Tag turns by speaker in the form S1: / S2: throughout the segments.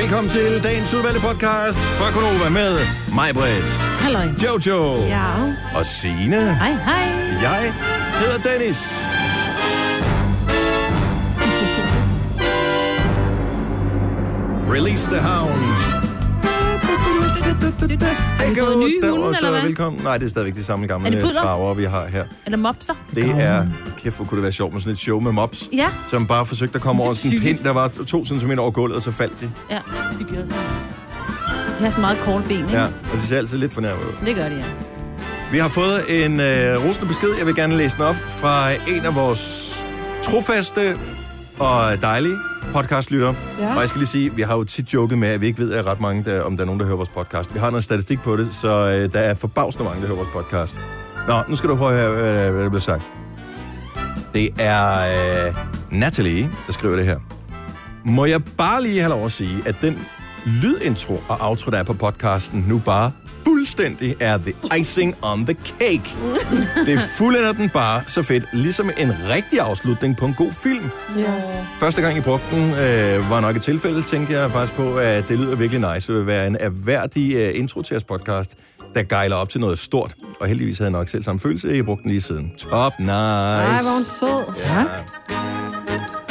S1: Velkommen til dagens udvalgte podcast fra Konova med mig, Britt,
S2: Halløj.
S1: Jojo
S2: Ja.
S1: og Sine.
S2: Hej, hej.
S1: Jeg hedder Dennis. Release the hounds. Har
S2: vi fået nye hunde, eller hvad?
S1: Velkommen. Nej, det er stadigvæk de samme
S2: Er
S1: gamle
S2: det pudler?
S1: traver, vi har her.
S2: Er det mopser?
S1: Det er, kæft hvor kunne det være sjovt med sådan et show med mops,
S2: Ja.
S1: som bare forsøgte at komme
S2: Det er
S1: over sådan en pind,
S2: sygt.
S1: der var to centimeter over gulvet, og så faldt de.
S2: Ja, de gør sådan. De har sådan meget kort ben, ikke?
S1: Ja, og det ser altid lidt fornærmet ud.
S2: Det gør de, ja.
S1: Vi har fået en øh, rosende besked, jeg vil gerne læse den op, fra en af vores trofaste og dejlige podcastlyttere.
S3: Ja.
S1: Og jeg skal lige sige, vi har jo tit joket med, at vi ikke ved, at ret mange, der, om der er nogen, der hører vores podcast. Vi har noget statistik på det, så øh, der er forbavsende mange, der hører vores podcast. Nå, nu skal du prøve at høre, hvad- hvad der bliver sagt. Det er øh, Natalie, der skriver det her. Må jeg bare lige have lov at sige, at den lydintro og outro, der er på podcasten, nu bare fuldstændig er the icing on the cake. Det fuldender den bare så fedt, ligesom en rigtig afslutning på en god film.
S3: Ja.
S1: Første gang, I brugte den, øh, var nok et tilfælde, tænkte jeg faktisk på, at det lyder virkelig nice. Det vil være en erhverdig øh, intro til jeres podcast, der gejler op til noget stort. Og heldigvis havde jeg nok selv samme følelse, at I brugte den lige siden. Top nice.
S3: Ej, hvor er hun sød.
S2: Tak.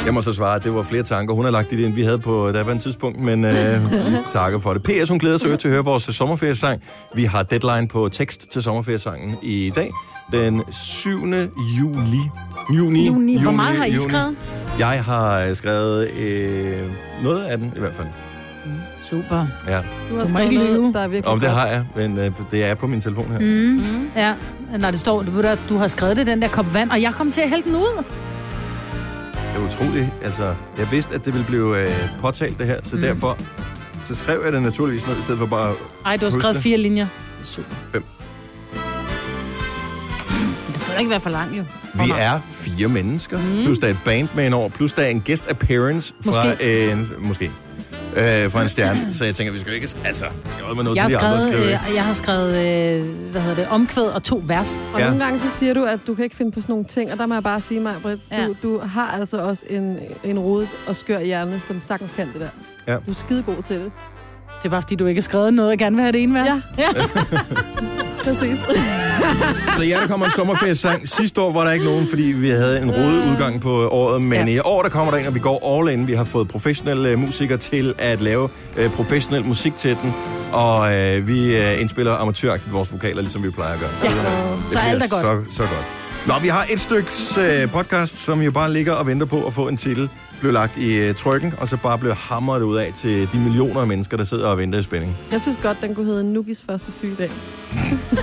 S1: Jeg må så svare, at det var flere tanker, hun har lagt i det, end vi havde på daværende tidspunkt, men øh, vi takker for det. P.S. hun glæder sig øvrigt til at høre vores sommerferiesang. Vi har deadline på tekst til sommerferiesangen i dag, den 7. juli. Juni.
S3: Juni.
S2: Hvor meget har I
S1: juni.
S2: skrevet?
S1: Jeg har øh, skrevet øh, noget af den, i hvert fald.
S2: Super.
S1: Ja.
S3: Du har
S4: Du må
S3: skrevet
S4: ikke lyve.
S3: noget, der er virkelig
S1: Om det
S3: godt.
S1: har jeg, men øh, det er på min telefon her.
S4: Mm. Ja. Nej, det står, du, ved da, du har skrevet det, den der kop vand, og jeg kom til at hælde den ud.
S1: Det er utroligt. Altså, jeg vidste, at det ville blive øh, påtalt, det her, så mm. derfor så skrev jeg det naturligvis ned, i stedet for bare...
S4: Ej, du har
S1: Husk
S4: skrevet
S1: det.
S4: fire linjer.
S2: Det er super.
S1: Fem.
S2: Men Det skal da ikke være for langt, jo.
S1: Vi
S2: Åh, nej.
S1: er fire mennesker, mm. plus der er et bandman over, plus der er en guest appearance fra måske. en... Måske. Øh, fra en stjerne, så jeg tænker, vi skal jo ikke... Altså, gøre med noget
S4: Jeg har
S1: til de andre
S4: skrevet,
S1: skrive.
S4: øh, jeg har skrevet øh, hvad hedder det, omkvæd og to vers.
S3: Og
S1: Ja.
S3: ja. nogle gange så siger du, at du kan ikke finde på sådan nogle ting, og der må jeg bare sige mig, Britt,
S2: Ja.
S3: ja. du, du har altså også en, en rodet og skør hjerne, som sagtens kan det der.
S1: Ja.
S3: Du er skidegod til det.
S4: Det er bare, fordi du ikke har skrevet noget, og gerne vil have det ene vers. Ja. ja.
S3: Præcis.
S1: Så ja, der kommer en sommerferiesang. Sidste år var der ikke nogen, fordi vi havde en rodet udgang på året, men ja.
S4: Mm. Ja.
S1: i år der kommer der en, og vi går all in. Vi har fået professionelle øh, musikere til at lave øh, professionel musik til den, og øh, vi øh, indspiller amatøragtigt vores vokaler, ligesom vi plejer at gøre.
S4: Ja.
S1: øh, det
S4: Så alt
S1: bliver
S4: er
S1: Så, så godt. Nå, vi har et stykke øh, podcast, som jo bare ligger og venter på at få en titel, blev lagt i øh, trykken, og så bare blev hamret ud af til de millioner af mennesker, der sidder og venter i spænding.
S3: Jeg synes godt, den kunne hedde Nugis første sygedag.
S1: Det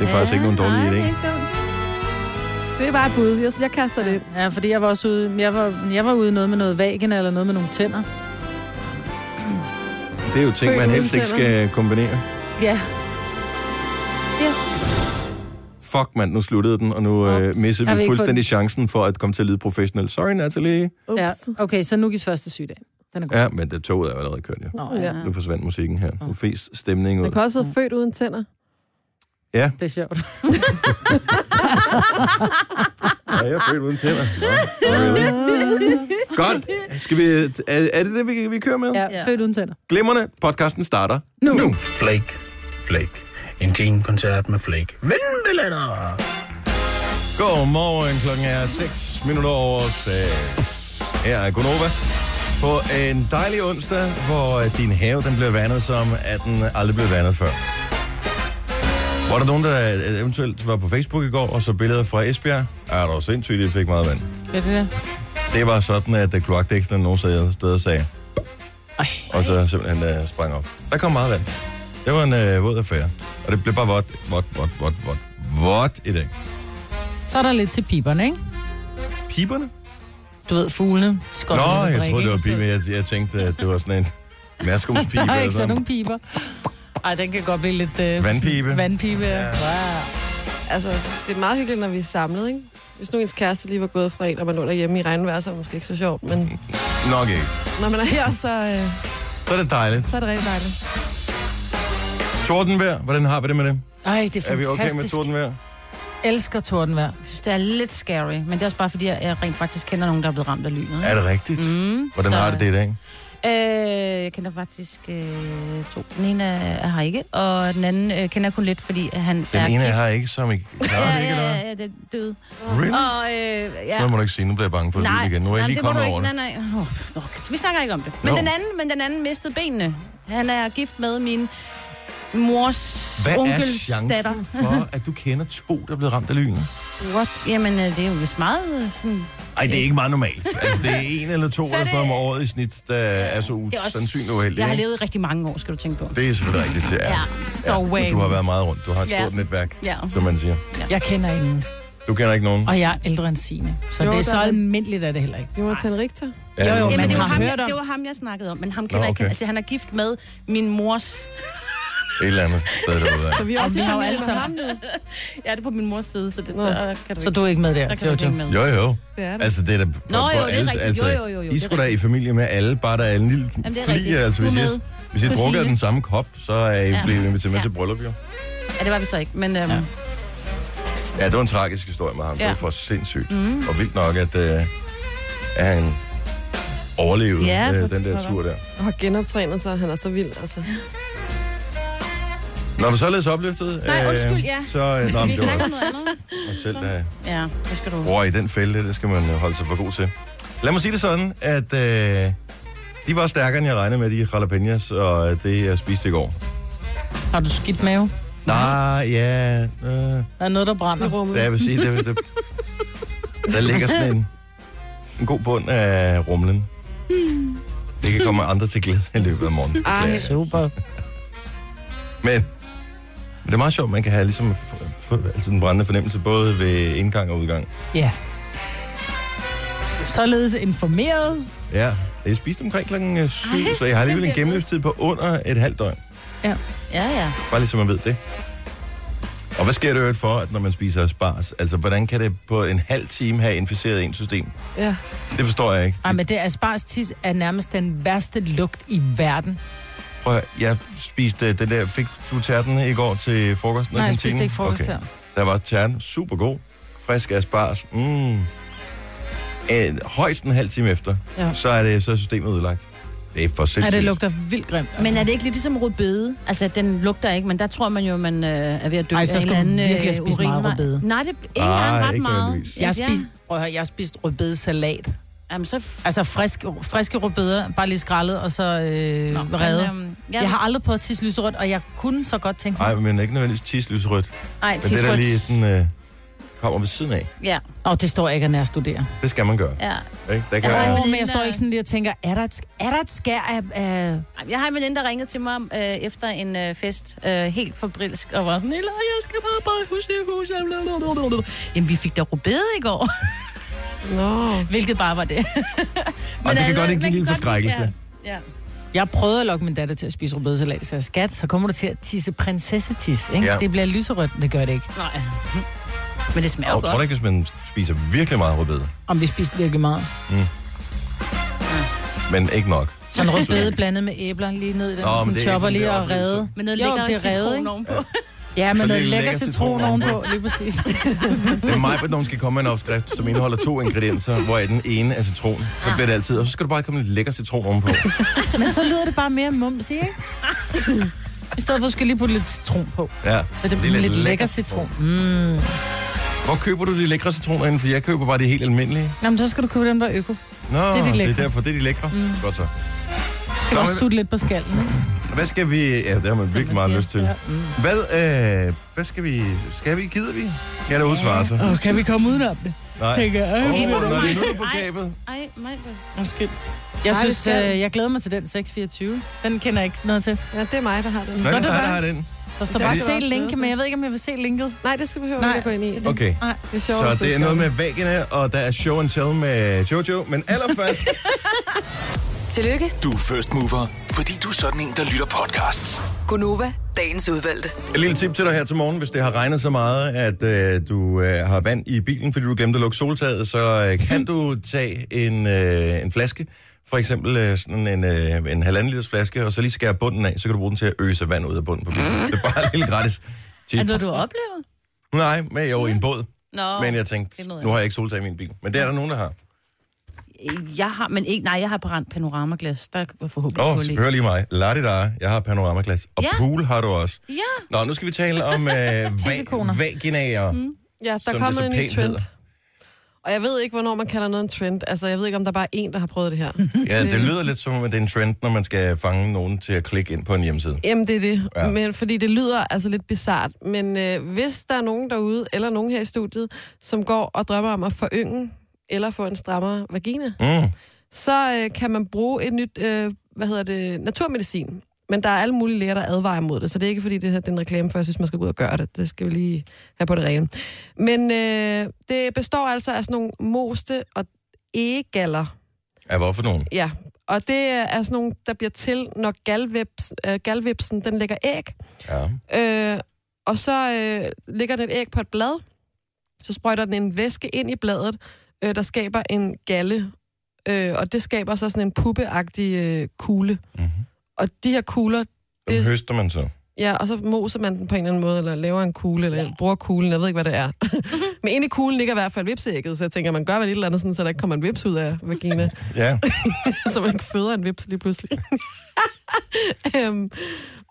S1: er faktisk ikke nogen dårlig
S2: nej,
S1: idé.
S2: det er ikke dumt.
S3: Det er bare et bud. Jeg, jeg kaster det ind.
S4: ja, fordi jeg var også ude, jeg var, jeg var ude i noget med noget vagina eller noget med nogle tænder.
S1: Det er jo ting,
S3: Født
S1: man
S3: uden
S1: helst ikke
S3: tænder.
S1: skal kombinere.
S4: Ja.
S1: fuck mand, nu sluttede den, og nu øh,
S4: Ups.
S1: missede
S4: Har
S1: vi
S4: vi ikke
S1: fuldstændig chancen for at komme til at lyde professionel. Sorry, Natalie.
S3: Ups.
S4: ja.
S3: Ja.
S4: Okay, så Nukis første sygedag. Den er god.
S1: Ja, men det toget er jo allerede kørt, ja.
S4: Nå, ja.
S3: Ja.
S1: Nu forsvandt musikken her. Nu fes stemningen
S3: Den
S1: ud.
S3: kan også hedde Født uden tænder.
S4: Det er sjovt.
S1: Ja, jeg er født uden tænder. Nå, really? Godt. Skal vi, er, er det det, vi, vi kører med?
S4: Ja, født uden tænder.
S1: Glimmerne, podcasten starter nu.
S4: Nu.
S1: nu.
S5: Flake, Flake. En Gene-koncert med Flake. Vind billetter!
S1: Godmorgen, klokken er 6 minutter over 6. Her er Gunova på en dejlig onsdag, hvor øh, din have den blev vandet som, at den aldrig blev vandet før. Var der nogen, der øh, eventuelt var på Facebook i går og så billeder fra Esbjerg? Ja, det var sindssygt, de fik meget vand.
S4: Gør det det?
S1: Det var sådan, at øh, kloakdækslen nogle steder- steder sagde,
S4: Ej.
S1: og så simpelthen uh, sprang op. Der kom meget vand. Det var en uh, våd affære, og det blev bare vådt, vådt, vådt, vådt, vådt, vådt i dag.
S4: Så er der lidt til piberne, ikke?
S1: Piberne?
S4: Du ved, fuglene. Skot
S1: Nå, jeg troede, det var pibe, men jeg, jeg tænkte, at det var sådan en maskumspibe.
S4: Der er
S1: eller
S4: ikke
S1: sådan.
S4: sådan nogle piber. Ej, den kan godt blive lidt... Øh,
S1: Vandpibe.
S4: sådan- Vandpibe, ja.
S1: Ja.
S4: Wow.
S3: Altså, det er meget hyggeligt, når vi er samlet, ikke? Hvis nu ens kæreste lige var gået fra en, og man lå derhjemme i regnvejr, så er det måske ikke så sjovt. Men
S1: Nok ikke.
S3: når man er her, så, øh,
S1: Så er det dejligt.
S3: så er det rigtig dejligt.
S1: Tordenvejr, hvordan har vi det med det?
S4: Ej, det er
S1: Er vi
S4: fantastisk.
S1: okay med tordenvejr?
S4: Jeg elsker tordenvejr.
S2: Jeg synes, det er lidt scary, men det er også bare fordi, jeg jeg rent faktisk kender nogen, der er blevet ramt af lynet.
S1: Er det rigtigt?
S2: Mm,
S1: Hvordan
S2: så-
S1: har det det i dag?
S6: Øh, jeg kender faktisk øh, to. Den ene er er her ikke, og den anden øh, kender jeg kun lidt, fordi han er...
S1: Den ene
S6: gift.
S1: har ikke, som ikke klarer
S6: Ja,
S1: det, ikke?
S6: ja,
S1: Eller?
S6: ja,
S1: hvad?
S6: ja, den er død.
S1: Really?
S6: Og, øh, ja.
S1: Så må du ikke sige, nu bliver jeg bange for at vide det igen. Nu er jeg
S6: nej,
S1: lige
S6: det må
S1: kommet
S6: du
S1: over
S6: ikke.
S1: det.
S6: Nej, nej. Oh, okay. Vi snakker ikke om det. Men,
S1: Nå.
S6: den anden, men den anden mistede benene. Han er gift med min mors
S1: Hvad er
S6: onkels datter.
S1: chancen for, at du kender to, der er blevet ramt af lynet?
S6: What? Jamen, øh, det er jo vist meget... øh, Sådan,
S1: Ej, det er ikke meget normalt. Altså, det er en eller to
S6: Så
S1: eller
S6: det-
S1: fem om året i snit, der er så
S6: det er også,
S1: usandsynligt uheldigt.
S6: Jeg har
S1: ikke?
S6: levet i rigtig mange år, skal du tænke på.
S1: Det er selvfølgelig rigtigt, det er.
S6: Ja, så
S1: men
S6: wang.
S1: Du har været meget rundt. Du har et
S6: Ja.
S1: stort netværk,
S6: Ja.
S1: som man siger.
S4: Jeg kender ingen,
S1: Du kender ikke nogen.
S4: og jeg er ældre end Signe. Så
S3: Jo,
S4: jo, det er
S3: der
S4: så
S3: er-
S4: almindeligt, er det heller ikke.
S3: Jonathan Richter.
S1: Ja,
S4: jo,
S1: nogen
S4: men
S6: Jamen,
S1: kender
S6: det, var
S4: har
S6: ham,
S4: hørt
S6: jeg,
S4: om-
S6: det var ham, jeg snakkede om, men ham kender
S1: Nå,
S6: jeg ikke.
S1: okay.
S6: Altså, han er gift med min mors...
S1: Et eller andet sted derude. af.
S3: Så vi er også
S4: vi
S3: i
S1: ligesom
S4: har jo
S3: familie
S4: alle sammen-
S3: med ham nu.
S6: Ja, det er på min mors side, så det
S3: Nå.
S6: der kan du
S4: Så
S6: ikke.
S4: du er ikke med der,
S6: der kan du ikke
S4: Jojo?
S6: hænge med.
S1: Jo, jo.
S3: Det er det.
S1: Altså, det er da... Nå,
S6: jo, det er rigtigt.
S1: Altså,
S6: Jo, jo, jo, jo,
S1: I
S6: det er
S1: skulle da i familie med alle, bare der er en lille
S6: det er
S1: fli.
S6: rigtigt.
S1: Altså, hvis
S6: Du er
S1: jeg,
S6: med.
S1: hvis jeg
S6: På
S1: drukker
S6: sine.
S1: den samme kop, så er I
S6: Ja.
S1: blevet inviteret med
S6: Ja.
S1: til bryllup, jo.
S6: Ja, det var vi så ikke, men... Øhm,
S1: Ja, det var en tragisk historie med ham. Ja. Det
S6: Ja.
S1: var for sindssygt. Mm. Og vildt nok, at, øh, at han overlevede
S6: Ja,
S1: øh,
S6: for
S1: den der
S6: pokker.
S1: tur der.
S3: Og har genoptrænet sig. Han er så vild, altså.
S1: Nå, men så er det opløftet.
S6: Nej, undskyld, ja.
S1: Øh, Så, øh, nå, men
S6: vi
S1: det
S6: snakker
S1: var
S6: om noget andet.
S1: mig selv, der
S6: Ja, det skal du...
S1: bror i den fælde. Det skal man øh, holde sig for god til. Lad mig sige det sådan, at øh, de var stærkere, end jeg regnede med, de jalapenos, og øh, det jeg spiste i går.
S4: Har du skidt mave?
S1: Nej, ja, øh,
S4: Der er noget, der
S3: I
S4: brænder.
S3: rummet.
S1: det jeg vil sige, det, det, der ligger sådan en, en god bund af rumlen. Det kan komme andre til glæde i løbet af morgenen.
S3: Ej.
S1: beklager.
S4: Super.
S1: Men det er meget sjovt, man kan have ligesom f- f- altså en brændende fornemmelse både ved indgang og udgang.
S4: Ja. Således informeret.
S1: Ja, jeg spiste omkring klokken 7, så jeg har alligevel en gennemløbstid på under et halvt døgn.
S6: Ja, ja.
S1: Bare ligesom man ved det. Og hvad sker det øvrigt for, at når man spiser spars? Altså, hvordan kan det på en halv time have inficeret ens system?
S3: Ja.
S1: Det forstår jeg ikke.
S4: Ej, men det er asparges tis er nærmest den værste lugt i verden.
S1: Prøv at, høre, jeg spiste øh, den der, fik du tærten i går til frokost?
S4: Nej, jeg spiste ikke frokost her.
S1: Der var tærten, super god, frisk asparges, mm. Øh, højst en halv time efter, ja.
S4: Ja.
S1: så, er det, så er systemet udlagt. Det er for sindssygt.
S4: Ja, det lugter vildt grimt.
S6: Men
S1: altså.
S6: er det ikke lidt ligesom rødbede? Altså, den lugter ikke, men der tror man jo, man øh, er ved at dø
S4: Ej, så
S6: af en
S4: skal
S6: eller
S4: man
S6: anden,
S4: virkelig
S6: øh,
S4: spise meget
S6: urinvej.
S4: rødbede.
S6: Nej, det er ikke
S1: Ej,
S6: engang ret
S1: Ah, ikke
S6: meget.
S1: nødvendigvis.
S4: jeg har
S6: Ja.
S4: spist, prøv at høre, jeg har spist rødbedesalat.
S6: Jamen, så... F-
S4: Altså frisk, friske rødbeder, bare lige skrællet og så øh,
S6: Nå, men,
S4: revet.
S6: øhm, ja.
S4: Jeg har aldrig prøvet at tisse lyserødt, og jeg kunne så godt tænke mig...
S1: Nej, men ikke nødvendigvis tislysrødt.
S6: Ej,
S1: Men det der
S6: tidsrødt.
S1: lige sådan, øh, kommer ved siden af,
S6: Ja,
S4: Åh, det står jeg ikke at nærstudere.
S1: det skal man gøre.
S6: ja.
S1: Ikke? Der kan
S6: Ja.
S1: være,
S4: Åh, men
S6: Malene-
S4: jeg står ikke sådan lige og tænker, er der et, sk- er der et skær af... af...
S6: Ej, Jeg har en veninde, der ringede til mig øh, efter en øh, fest, øh, helt forbrilsk, og var sådan, "Ella, jeg skal bare bare huske hus. Jamen, vi fik da rubede i går,
S3: Nå.
S6: hvilket bare var det.
S1: og det kan
S6: altså,
S1: godt ikke give
S6: man
S1: en lille
S6: kan godt-
S1: forskrækkelse.
S6: Ja. ja.
S4: Jeg prøvede at lokke min datter til at spise rødbedesalat, så jeg skat, så kommer du til at tisse prinsessetis, ikke?
S1: Ja.
S4: Ja. Det bliver lyserødt, men det gør det ikke. Hm.
S6: Nej. Men det smager jo
S1: Og tror du
S6: godt.
S1: ikke, hvis man spiser virkelig meget rødbede,
S4: Om vi spiste virkelig meget.
S1: men ikke nok.
S4: Så en rødbede blandet med æbler lige ned i den,
S1: Nå, men
S4: sådan
S1: det er
S4: chopper
S1: ikke
S4: lige
S1: en
S4: og
S1: oplevelse.
S4: redde.
S6: Med noget
S4: Jo,
S6: lækker
S4: det er revet,
S6: citron
S4: ikke?
S6: ovenpå.
S4: Ja,
S1: Så
S4: med noget
S1: lidt
S4: lækker
S1: lækker
S4: citron
S1: citron
S4: ovenpå, lige præcis.
S1: Det er mig, at nogen skal komme med en opskrift, som indeholder to ingredienser, hvor den ene er citron. Så bliver det altid, og så skal du bare komme lidt lækker citron ovenpå.
S4: Men så lyder det bare mere mums, ikke? I stedet for skal jeg lige putte lidt citron på.
S1: Ja,
S4: Så det bliver lidt lækker citron. Mm.
S1: Hvor køber du de lækre citroner inden? For jeg køber bare de helt almindelige.
S4: Nå, men så skal du købe dem der er øko.
S1: Nå, det
S4: de
S1: er, de det er
S4: lækre.
S1: derfor, det er de lækre. Mm. Godt så.
S4: Skal
S1: Nå,
S4: også
S1: men-
S4: sutte lidt på skallen. ikke?
S1: Hvad skal vi... Ja, det har man virkelig meget lyst til.
S4: Ja. Mm.
S1: Hvad, øh, hvad skal vi... Skal vi? Gider vi? Kan det udsvare sig?
S4: Åh, kan vi komme udenom det?
S1: Nej.
S4: Tænker jeg.
S1: Åh,
S4: Øh,
S6: Giver du
S1: når det
S6: mig?
S1: er nu på
S6: Ej.
S1: gabet.
S6: Ej, mig.
S4: Undskyld. Jeg
S3: Nej, det
S4: synes,
S3: skal vi.
S4: øh, jeg glæder mig til den 624. Den kender jeg ikke noget til.
S3: Ja, det er mig, der har den.
S1: Nå, det er
S4: Godt at
S1: dig, der
S4: være.
S1: har den.
S4: Der står
S3: Det
S4: bare
S1: skal
S3: vi
S4: se
S3: også glæde
S4: linket,
S3: os
S4: men
S3: til.
S4: jeg ved ikke, om jeg vil se linket.
S3: Nej, det skal behøver vi ikke
S4: Nej.
S3: gå ind i.
S1: Okay.
S4: Nej.
S3: Det er sjovt.
S1: Så
S3: at
S1: det er
S3: sidde
S1: noget
S3: og-
S1: med væggene, og der er show and tell med Jojo. Men allerførst,
S7: Tillykke,
S5: Du er first mover, fordi du er sådan en, der lytter podcasts.
S7: Gunova, dagens udvalgte.
S1: et lille tip til dig her til morgen. Hvis det har regnet så meget, at øh, du øh, har vand i bilen, fordi du glemte at lukke soltaget, så øh, kan du tage en, øh, en flaske, for eksempel øh, sådan en, øh, en halvanden liters flaske, og så lige skære bunden af, så kan du bruge den til at øse vand ud af bunden på bilen. Det er bare lidt gratis. Tip.
S6: Er det noget, du har oplevet?
S1: Nej, men jeg er jo i en båd.
S6: Nå.
S1: Men jeg tænkte,
S6: det er noget
S1: nu har jeg ikke soltag i min bil. Men det er der nogen, der har.
S6: Øh, Jeg har, men ikke, nej, jeg har brændt panoramaglas. Der er forhåbentlig
S1: Åh,
S6: hul i.
S1: oh, hør lige mig. La di da. Jeg har panoramaglas. Og
S6: Ja.
S1: pool har du også.
S6: Ja,
S1: Nå, nu skal vi tale om øh,
S4: Tissekoner.
S1: va- vaginaer. Mm.
S3: Ja, der
S1: Som det
S3: kommer
S1: så
S3: en ny
S1: pænt
S3: trend.
S1: hedder.
S3: Og jeg ved ikke, hvornår man kalder noget en trend. Altså, jeg ved ikke, om der bare er en, der har prøvet det her.
S1: Ja,
S3: Mm.
S1: det lyder lidt som, at det er en trend, når man skal fange nogen til at klikke ind på en hjemmeside.
S3: Jamen, det er det.
S1: Ja.
S3: Ja. Men, fordi det lyder altså lidt bizart. Men øh, hvis der er nogen derude, eller nogen her i studiet, som går og drømmer om at forynge, eller få en strammere vagina,
S1: Mm.
S3: så øh, kan man bruge et nyt, øh, hvad hedder det, naturmedicin. Men der er alle mulige læger, der advarer mod det, så det er ikke fordi, det her det er en reklame, for jeg synes, man skal gå ud og gøre det. Det skal vi lige have på det rene. Men øh, det består altså af sådan nogle moste og egegaller.
S1: Ja, hvorfor nogen?
S3: Ja, og det er sådan nogle, der bliver til, når galvips, øh, galvipsen den lægger æg.
S1: Ja.
S3: Øh, og så øh, ligger den et æg på et blad, så sprøjter den en væske ind i bladet, øh, der skaber en galle, øh, og det skaber så sådan en puppeagtig øh, kugle.
S1: Mm-hmm.
S3: Og de her kugler,
S1: Dem
S3: Det-
S1: høster man så.
S3: ja, og så moser man den på en eller anden måde, eller laver en kugle, eller bruger kuglen, jeg ved ikke, hvad det er. Men inde i kuglen ligger i hvert fald vipsægget, så jeg tænker, man gør vel et eller andet, sådan, så der ikke kommer en vips ud af vagina.
S1: Ja.
S3: så man ikke føder en vips lige pludselig. øhm,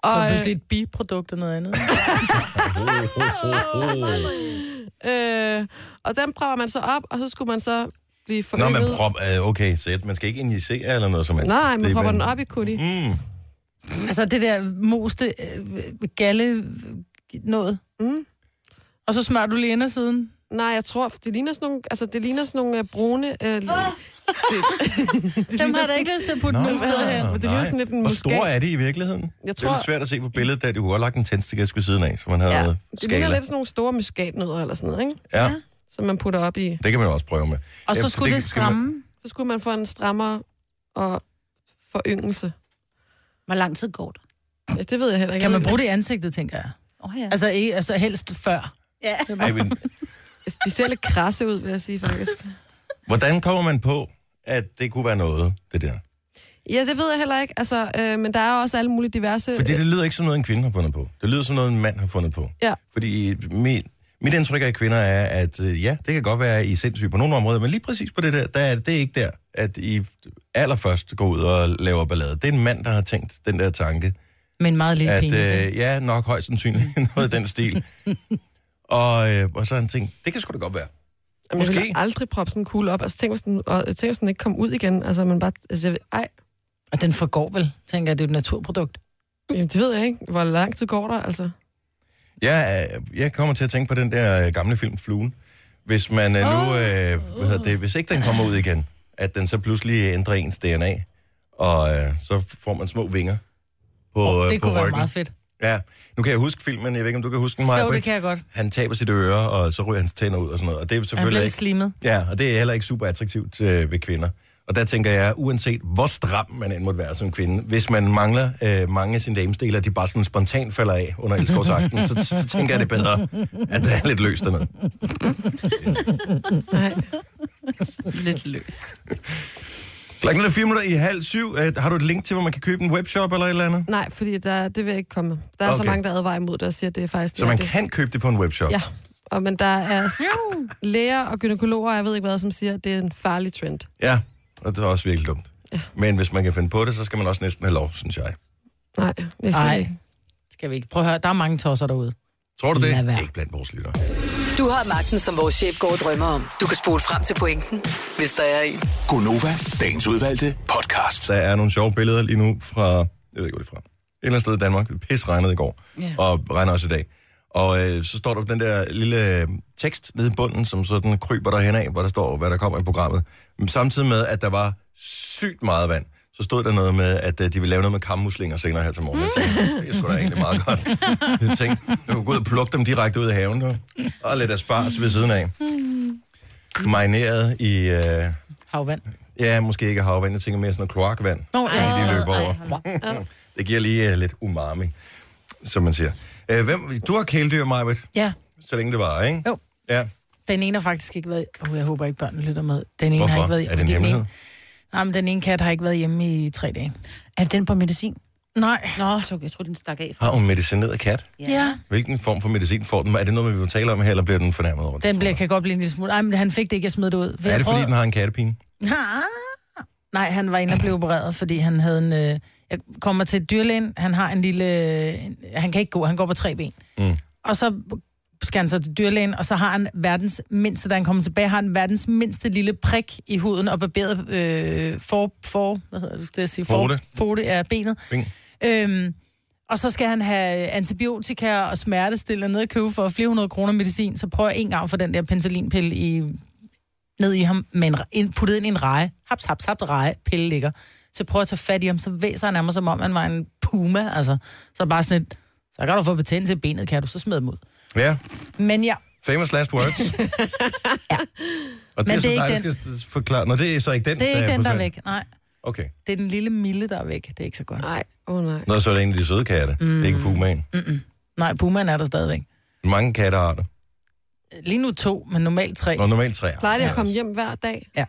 S3: og,
S4: Så er det pludselig et biprodukt og noget andet.
S3: øh, og den prøver man så op, og så skulle man så blive
S1: Nå,
S3: forøget.
S1: man prop, øh, okay, så man skal ikke injicere eller noget som helst.
S3: Nej, man
S1: Det er
S3: propper
S1: bare-
S3: den op i kutti.
S1: Mm.
S4: altså det der moste øh, galle øh, noget.
S3: Mm.
S4: Og så smører du lige indersiden.
S3: Nej, jeg tror, det ligner sådan nogle, altså, det ligner sådan nogle øh, brune... Øh, det, det
S4: Dem
S3: ligner
S4: Ah! har jeg da
S3: sådan,
S4: ikke lyst til at putte
S1: Nå,
S4: nogen steder hen.
S3: men det
S1: nej.
S3: ligner sådan lidt en
S1: Hvor
S3: muskat.
S1: store er de i virkeligheden?
S3: Jeg
S1: Det er
S3: tror-
S1: lidt svært at se på billedet, da du har lagt en tændstik ved siden af, så man havde
S3: ja,
S1: ja,
S3: det ligner
S1: skala.
S3: lidt sådan nogle store muskatnødder eller sådan noget, ikke?
S1: Ja,
S3: Som man putter op i.
S1: det kan man jo også prøve med.
S4: Og
S1: Ja,
S4: så
S1: for
S4: skulle det
S1: skal man-
S4: stramme.
S3: Så skulle man få en strammere og foryngelse.
S6: hvor lang tid går der?
S3: Ja, det ved jeg heller ikke.
S4: Kan man bruge det i ansigtet, tænker jeg.
S6: Åh oh, ja.
S4: Altså, ikke, altså helst før.
S6: ja.
S1: Ej, men,
S3: De ser lidt krasse ud, vil jeg sige faktisk.
S1: hvordan kommer man på, at det kunne være noget, det der?
S3: Ja, det ved jeg heller ikke. Altså, øh, men der er jo også alle mulige diverse...
S1: Fordi det lyder ikke som noget, en kvinde har fundet på. Det lyder som noget, en mand har fundet på.
S3: Ja.
S1: Fordi mit, mit indtryk af kvinder er, at øh, ja, det kan godt være, at I er sindssyge på nogle områder, men lige præcis på det der, der er, det er ikke der, at I allerførst går ud og laver ballade. Det er en mand, der har tænkt den der tanke,
S4: Med en meget lille
S1: at
S4: penis. ikke?
S1: øh, ja, nok højst sandsynligt noget i den stil. og, øh, og så har han tænkt, det kan sgu da godt være.
S3: Jamen, jeg ville
S1: Måske.
S3: aldrig proppe sådan en kugle op. Altså, tænk, hvis den, og, tænk, hvis den ikke kom ud igen. Altså, man bare... Altså, jeg, ved- ej,
S4: Og den forgår vel, tænker jeg, det er et naturprodukt.
S3: jamen, det ved jeg ikke. Hvor lang tid går der, altså?
S1: Jeg, øh, jeg kommer til at tænke på den der øh, gamle film Fluen. Hvis man øh, nu, øh, hvad hedder det, hvis ikke den kommer ud igen, at den så pludselig ændrer ens DNA, og øh, så får man små vinger på, oh,
S4: det
S1: på
S4: kunne være
S1: ryggen.
S4: meget fedt.
S1: Ja, nu kan jeg huske filmen, jeg ved ikke, om du kan huske den, Maja
S4: Jo, det
S1: Britt?
S4: kan jeg godt.
S1: Han taber sit øre, og så ryger hans tænder ud og sådan noget, og det er
S4: Han
S1: selvfølgelig
S4: bliver
S1: ikke...
S4: slimet.
S1: Ja, og det er heller ikke super attraktivt øh, ved kvinder. Og der tænker jeg, uanset hvor stram man end måtte være som kvinde, hvis man mangler øh, mange af sine damesdele, at de bare sådan spontant falder af under elskovsakten, så, så tænker jeg, det er bedre, at det er lidt løst dernede.
S3: Nej.
S6: Lidt løst.
S1: Klokken er fire minutter i halv syv. Øh, har du et link til, hvor man kan købe en webshop eller et eller andet?
S3: Nej, fordi der, det vil jeg ikke komme. Der er okay. så
S1: Okay.
S3: mange, der advarer imod det og siger, at det er faktisk...
S1: Så man
S3: det.
S1: kan købe det på en webshop?
S3: Ja, og, men der er s- læger og gynækologer, og jeg ved ikke hvad, som siger, at det er en farlig trend.
S1: Ja, og det er også virkelig dumt. Ja. Men hvis man kan finde på det, så skal man også næsten have lov, synes jeg.
S3: Nej, jeg siger
S4: Nej,
S3: ikke.
S4: skal vi ikke. Prøv at høre, der er mange tosser derude.
S1: Tror du det?
S4: Lad være.
S1: Ikke blandt vores lyttere.
S7: Du har magten, som vores chef går og drømmer om. Du kan spole frem til pointen, hvis der er en.
S8: Gonova, dagens udvalgte podcast.
S1: Der er nogle sjove billeder lige nu fra, jeg ved ikke, hvor det er fra. Et eller andet sted i Danmark. Det pis regnede i går, yeah. og regner også i dag. Og øh, så står der den der lille øh, tekst nede i bunden, som sådan kryber der henad, hvor der står, hvad der kommer i programmet. Men samtidig med, at der var sygt meget vand, så stod der noget med, at øh, de ville lave noget med kammuslinger senere her til morgen. Jeg tænkte, det er sgu da egentlig meget godt. Jeg tænkte, jeg kunne gå ud og plukke dem direkte ud af haven, du. og lidt aspars ved siden af. Marineret i, øh,
S4: Havvand.
S1: ja, måske ikke havvand, jeg tænker mere sådan noget kloakvand
S4: Nå, ja.
S1: inden de løber over. Det giver lige uh, lidt umami, som man siger. Uh, hvem, du har kæledyr, Majbet,
S4: ja.
S1: så længe det var, ikke?
S4: Jo.
S1: Ja.
S4: Den ene har faktisk ikke været... Oh, jeg håber ikke, børnene lytter med. Den ene har ikke
S1: Hvorfor?
S4: været...
S1: Er det en
S4: fordi den
S1: hemmelighed?
S4: ene- Nej, men den ene kat har ikke været hjemme i tre dage.
S6: Er den på medicin?
S4: Nej.
S6: Nå, så jeg tror, den stak af.
S1: Har hun medicineret kat?
S4: Ja.
S1: Hvilken form for medicin får den? Er det noget, vi vil tale om her, eller bliver den fornærmet over det?
S4: Den bliver, kan godt blive en lille smule... Nej, men han fik det ikke, jeg smed det ud. Vil
S1: Er
S4: jeg
S1: det, fordi
S4: prøve-
S1: den har en kattepine?
S4: Nej, han var inde og blev opereret, fordi han havde en... Øh, jeg kommer til dyrlægen, han har en lille... Han kan ikke gå, han går på tre ben.
S1: Mm.
S4: Og så skal han så til dyrlægen, og så har han verdens mindste, da han kommer tilbage, har han verdens mindste lille prik i huden og barberet øh, for, for, hvad hedder det, det at sige,
S1: Forte.
S4: forte af benet.
S1: Bing.
S4: Øhm, og så skal han have antibiotika og smertestillende ned og købe for flere hundrede kroner medicin, så prøver jeg en gang for den der penicillinpille i, ned i ham, med en, ind, puttet ind i en reje. Haps, haps, haps, reje, pille ligger. Så prøver jeg at tage fat i ham, så væser han af mig, som om han var en puma, altså. Så bare sådan et, så kan du få betændelse i benet, kan du, så smid dem ud.
S1: Ja,
S4: Men ja,
S1: famous last words. ja. Og det
S4: Men
S1: er,
S4: det
S1: sådan,
S4: er
S1: dig,
S4: ikke
S1: der skal s- forklare. Nå, det er så ikke den,
S4: det er ikke den, der er
S1: forsvandt.
S4: væk. Nej,
S1: Okay.
S4: det er den lille Mille, der er væk. Det er ikke så godt.
S3: Nej, åh oh, nej.
S1: Nå, så er det en af de søde katte. Mm. Det er ikke pumaen.
S4: Nej, pumaen er der stadigvæk.
S1: Mange katte har det.
S4: Lige nu to, men normalt tre.
S1: Nå, normalt træer.
S3: Plejer det at komme hjem hver dag?
S4: Ja.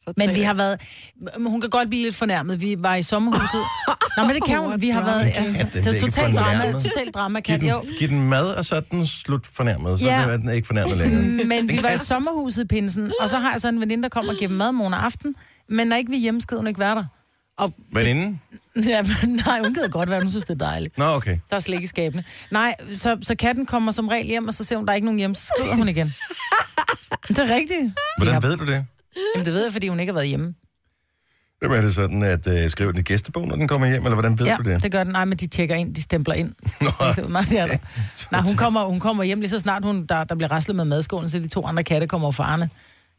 S3: Så
S4: Men vi
S3: tænker
S4: har været... men Hun kan godt blive lidt fornærmet. Vi var i sommerhuset. Nå, men det kan hun. Vi har været...
S1: Kat, den
S4: det
S1: bliver
S4: er
S1: ikke
S4: totalt drama.
S1: fornærmet.
S4: Totalt drama,
S1: Giv
S4: Kat. Jo.
S1: den, giv den mad, og så er den slut fornærmet. Så
S4: Ja.
S1: ja. er den ikke fornærmet længere.
S4: Mm, Men vi var i
S1: kan-
S4: sommerhuset i pinsen, og så har jeg så en veninde, der kommer og giver dem mad morgen og aften. Men når ikke vi er hjemme, skal hun ikke være der. Og,
S1: Men inden?
S4: ja, men, nej, hun gider godt være, der. hun synes, det er dejligt.
S1: Nå, okay.
S4: Der er slik i skabene. Nej, så, så katten kommer som regel hjem, og så ser hun, der er ikke nogen hjem, så skrider hun igen. det er rigtigt.
S1: Hvordan
S4: Ja.
S1: ved du det?
S4: Jamen, det ved jeg, fordi hun ikke har været hjemme.
S1: Jamen, er det sådan, at øh, skriver den i gæstebogen, når den kommer hjem, eller hvordan ved
S4: ja,
S1: du det?
S4: det gør den. Nej, men de tjekker ind, de stempler ind.
S1: Nå,
S4: Det er meget, det er der. Nej, hun kommer, hun kommer hjem lige så snart, hun, der, der bliver raslet med madskålen, så de to andre katte kommer farne.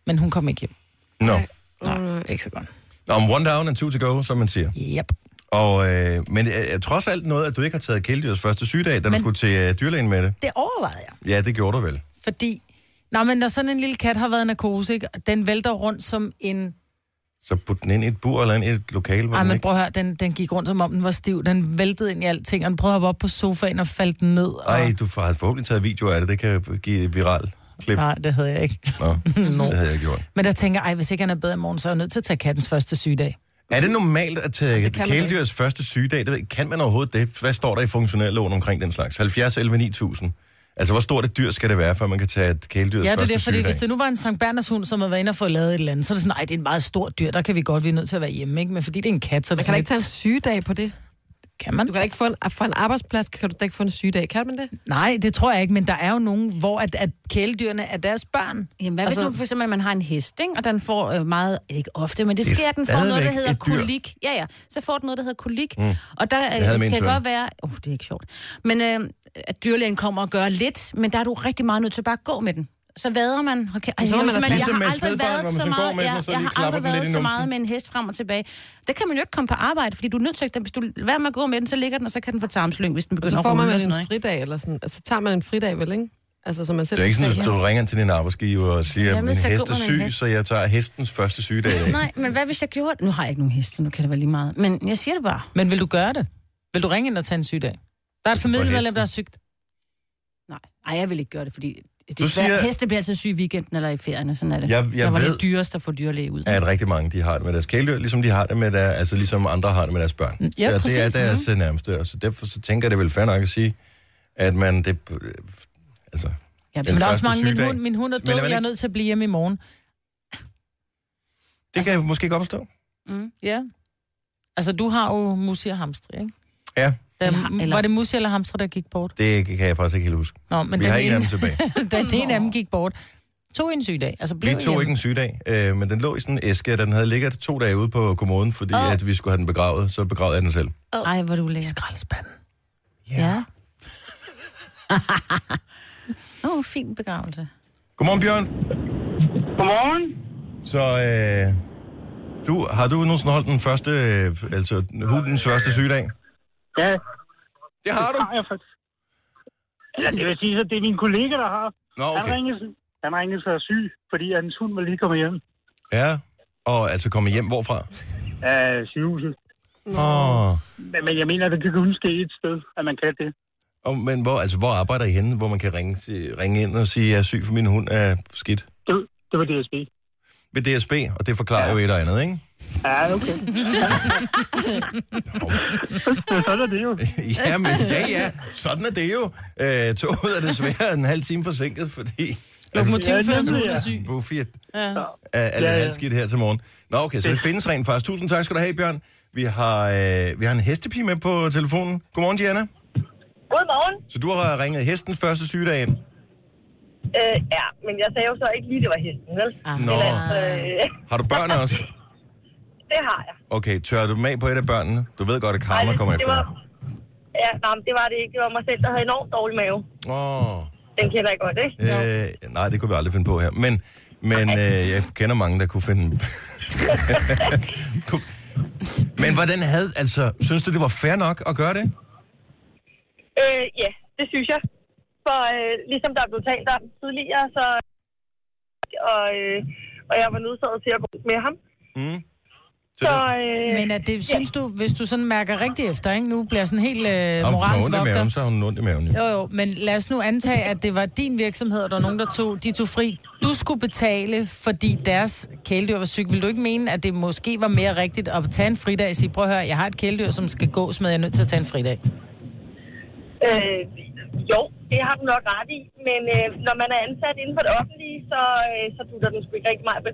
S4: Men hun kommer ikke hjem.
S1: Nå.
S4: Nej, det er ikke så godt.
S1: Nå, om one down and two to go, som man siger.
S4: Yep.
S1: Og, øh, men øh, trods alt noget, at du ikke har taget kæledyrets første sygedag, da men... du
S4: Men-
S1: skulle til øh, dyrlægen med det.
S4: Det overvejede jeg.
S1: Ja, det gjorde du vel.
S4: Fordi, Nå, men når sådan en lille kat har været i narkose, ikke? den vælter rundt som en...
S1: Så put den ind i et bur eller ind i et lokale, hvor
S4: Ej,
S1: den
S4: men
S1: ikke...
S4: prøv at høre, den, den gik rundt som om den var stiv. Den væltede ind i alting, og den prøvede at hoppe op på sofaen og faldt den ned. Og...
S1: Ej, du har forhåbentlig taget video af det. Det kan give et viral klip.
S4: Nej, det havde jeg ikke.
S1: Nå, det havde jeg gjort.
S4: Men der tænker jeg, "Ej, hvis ikke han er bedre i morgen, så er jeg nødt til at tage kattens første sygedag.
S1: Er det normalt at tage
S3: kan man
S1: kæledyrets første sygedag? Det ved, kan man overhovedet det? Hvad står der i funktionærloven omkring den slags? 70, 11, 9000. Altså, hvor stort et dyr skal det være, før man kan tage et kæledyrets
S4: Ja, det er
S1: første
S4: det, fordi
S1: sygedag?
S4: hvis det nu var en Sankt Berners hund, som havde været inde og fået lavet et eller andet, så er det sådan, nej, det er en meget stor dyr, der kan vi godt, vi er nødt til at være hjemme, ikke? Men fordi det er en kat, så er
S3: Man
S4: det
S3: kan da
S4: sådan
S3: ikke tage en
S4: lidt,
S3: sygedag på det.
S4: kan man?
S3: Du kan da ikke få en, fra en arbejdsplads, kan du da ikke få en sygedag. Kan man det?
S4: Nej, det tror jeg ikke, men der er jo nogen, hvor at, at kæledyrene er deres børn.
S6: Jamen, hvad altså,
S4: Altså-
S6: hvis du for eksempel, man har en hest, ikke? og den får øh, meget, ikke ofte, men det,
S1: Det er
S6: det sker, at den får noget, der
S1: stadigvæk
S6: hedder
S1: et dyr.
S6: kolik. Ja, ja, så får den noget, der hedder kolik. Mm. Og der øh,
S1: havde min
S6: kan
S1: søn.
S6: godt være, oh, det er ikke sjovt, men øh, at dyrlægen kommer og gør lidt, men der er du rigtig meget nødt til bare at gå med den. Så vader man. Okay. Ej,
S3: må man
S6: jeg,
S3: da-
S6: jeg,
S1: Ligesom med et
S6: har aldrig
S1: spædbarn, hvor
S6: været
S1: man
S6: så
S1: sådan går
S6: meget,
S1: med den,
S6: ja,
S1: og så
S6: jeg
S1: lige
S6: har
S1: klapper
S6: aldrig
S1: den lidt i
S6: været så
S1: numsen.
S6: meget med en hest frem og tilbage. Der kan man jo ikke komme på arbejde, fordi du er nødt til, at hvis du lader med at gå med den, så ligger den, og så kan den få tarmslyng, hvis den
S3: Og
S6: begynder
S3: så får
S6: at rulle.
S3: man
S6: og
S3: vel
S6: sådan noget,
S3: en
S6: ikke?
S3: fridag eller sådan. Altså tager man en fridag vel, ikke? Altså, så man
S1: Det
S3: selv
S1: er jo ikke sådan, at du ringer til din arbejdsgiver og siger, at
S6: Jamen,
S1: min
S6: så
S1: hest
S6: går
S1: er
S6: man med
S1: syg,
S6: en hest."
S1: så jeg tager hestens første sygedag. i dag."
S6: Nej, men hvad hvis jeg gjorde det? Nu har jeg ikke nogen heste, nu kan det være lige meget. Men jeg siger det bare.
S4: Men vil du gøre det? Vil du ringe ind og tage en sygedag? Der er et familiemedlem, der er sygt.
S6: Nej, Ej, jeg vil ikke gøre det, fordi det
S1: Du
S6: er svært.
S1: siger-
S6: heste bliver altid syge i weekenden eller i ferien, og sådan er det.
S1: Jeg- jeg
S6: der var
S1: ved-
S6: lidt dyrest at få dyrlæge ud.
S1: at rigtig mange de har det med deres kæledyr, ligesom de har det med der, altså ligesom andre har det med deres børn.
S4: ja,
S1: det er
S4: præcis.
S1: deres øh, nærmeste, og så derfor så tænker jeg, det er vel fair nok at sige, at man det, øh, altså,
S6: Ja,
S1: Den
S4: Men der er
S1: første
S4: også mange, min
S1: sygedag.
S4: hund, min hund er
S1: Men
S4: død,
S1: lad mig
S4: jeg er
S1: lige-
S4: nødt til at blive hjemme i morgen.
S1: det kan jeg måske godt forstå.
S6: Mm.
S4: Ja. Altså, du har jo Musi og Hamstri, ikke?
S1: Ja,
S4: Der,
S6: Eller-
S4: eller,
S6: eller-
S4: Var det Musi eller Hamstri, der gik bort?
S1: det kan jeg faktisk ikke helt huske.
S4: Nå, men
S1: Vi
S4: den,
S1: har en af dem
S4: ene,
S1: tilbage.
S4: den ene af dem gigik bort. Tog en sygedag, altså blev
S1: Vi tog
S4: hjemme.
S1: ikke en sygedag, øh, men den lå i sådan en æske, og den havde ligget to dage ude på kommoden, fordi
S6: Åh.
S1: at vi skulle have den begravet, så begravede jeg den selv.
S6: Ej, hvor er du lækker.
S4: skraldespanden.
S6: Ja. Åh, oh, fin begravelse.
S1: Godmorgen, Bjørn.
S9: Godmorgen.
S1: Så øh, du, har du nogensinde holdt den første, øh, altså hundens første sygedag?
S9: Ja,
S1: Det har
S9: det
S1: du.
S9: har jeg faktisk. Eller det vil sige, at det er min kollega, der har.
S1: Nå,
S9: Han ringede, han ringede sig syg, fordi hans hund var lige kommet hjem
S1: Ja, og altså komme hjem hvorfra?
S9: af sygehuset.
S1: Åh, oh.
S9: Men, men jeg mener, at det kan kun ske et sted, at man kan det.
S1: oh, men hvor, altså, hvor arbejder I henne, hvor man kan ringe, til, ringe ind og sige, at jeg er syg for min hund er skidt?
S9: Det, det var DSB.
S1: Ved DSB, og det forklarer ja. jo et eller andet, ikke?
S9: Ja, okay. Men sådan er det jo.
S1: ja, men ja, ja, sådan er det jo. Øh, toget er desværre en halv time forsinket, fordi
S4: Lokomotivføreren, som hun er syg.
S1: Buffet
S4: Ja.
S1: er, er lidt
S9: Ja, ja.
S1: halvskidt her til morgen. Nå, okay, så det findes rent faktisk. Tusind tak skal du have, Bjørn. Vi har, øh, vi har en hestepige med på telefonen. Godmorgen, Diana.
S10: Godmorgen.
S1: Så du har ringet hesten første sygedag ind.
S10: Øh, ja, men jeg sagde jo så ikke lige, det var hesten, vel?
S1: Ah.
S10: Men
S1: Nå.
S10: altså, øh,
S1: Har du børn også?
S10: det har jeg.
S1: Okay, tør du med på et af børnene? Du ved godt, at
S10: Ej,
S1: karma
S10: det-
S1: kommer
S10: det
S1: efter dig.
S10: var- Ja, nej, men det var det ikke. Det var mig selv, der havde enormt dårlig mave.
S1: Åh,
S10: Den kender jeg godt, ikke?
S1: øh, nej, det kunne vi aldrig finde på her. Men, men øh, jeg kender mange, der kunne finde... Kunne- men hvordan havde... Altså, synes du, det var fair nok at gøre det?
S10: Øh, ja, det synes jeg. For øh, ligesom der er blevet talt om tidligere, så... Og, øh, og jeg var nødsaget til at gå med ham.
S1: Mm.
S10: Så, øh,
S4: Men at det, synes du, hvis du sådan mærker rigtigt efter, ikke? nu bliver jeg sådan helt øh,
S1: Om hun har
S4: moralens
S1: ondt i maven,
S4: vogter.
S1: så har hun ondt i maven. jo.
S4: Jo, jo, men lad os nu antage, at det var din virksomhed, og der var nogen, der tog, de tog fri. Du skulle betale, fordi deres kæledyr var syg. Vil du ikke mene, at det måske var mere rigtigt at tage en fridag og sige, prøv at høre, jeg har et kæledyr, som skal gås med, jeg er nødt til at tage en fridag.
S10: øh, jo, det har du nok ret i. Men øh, når man er ansat inden for det offentlige, så, øh, så dutter den sgu ikke rigtig meget. Men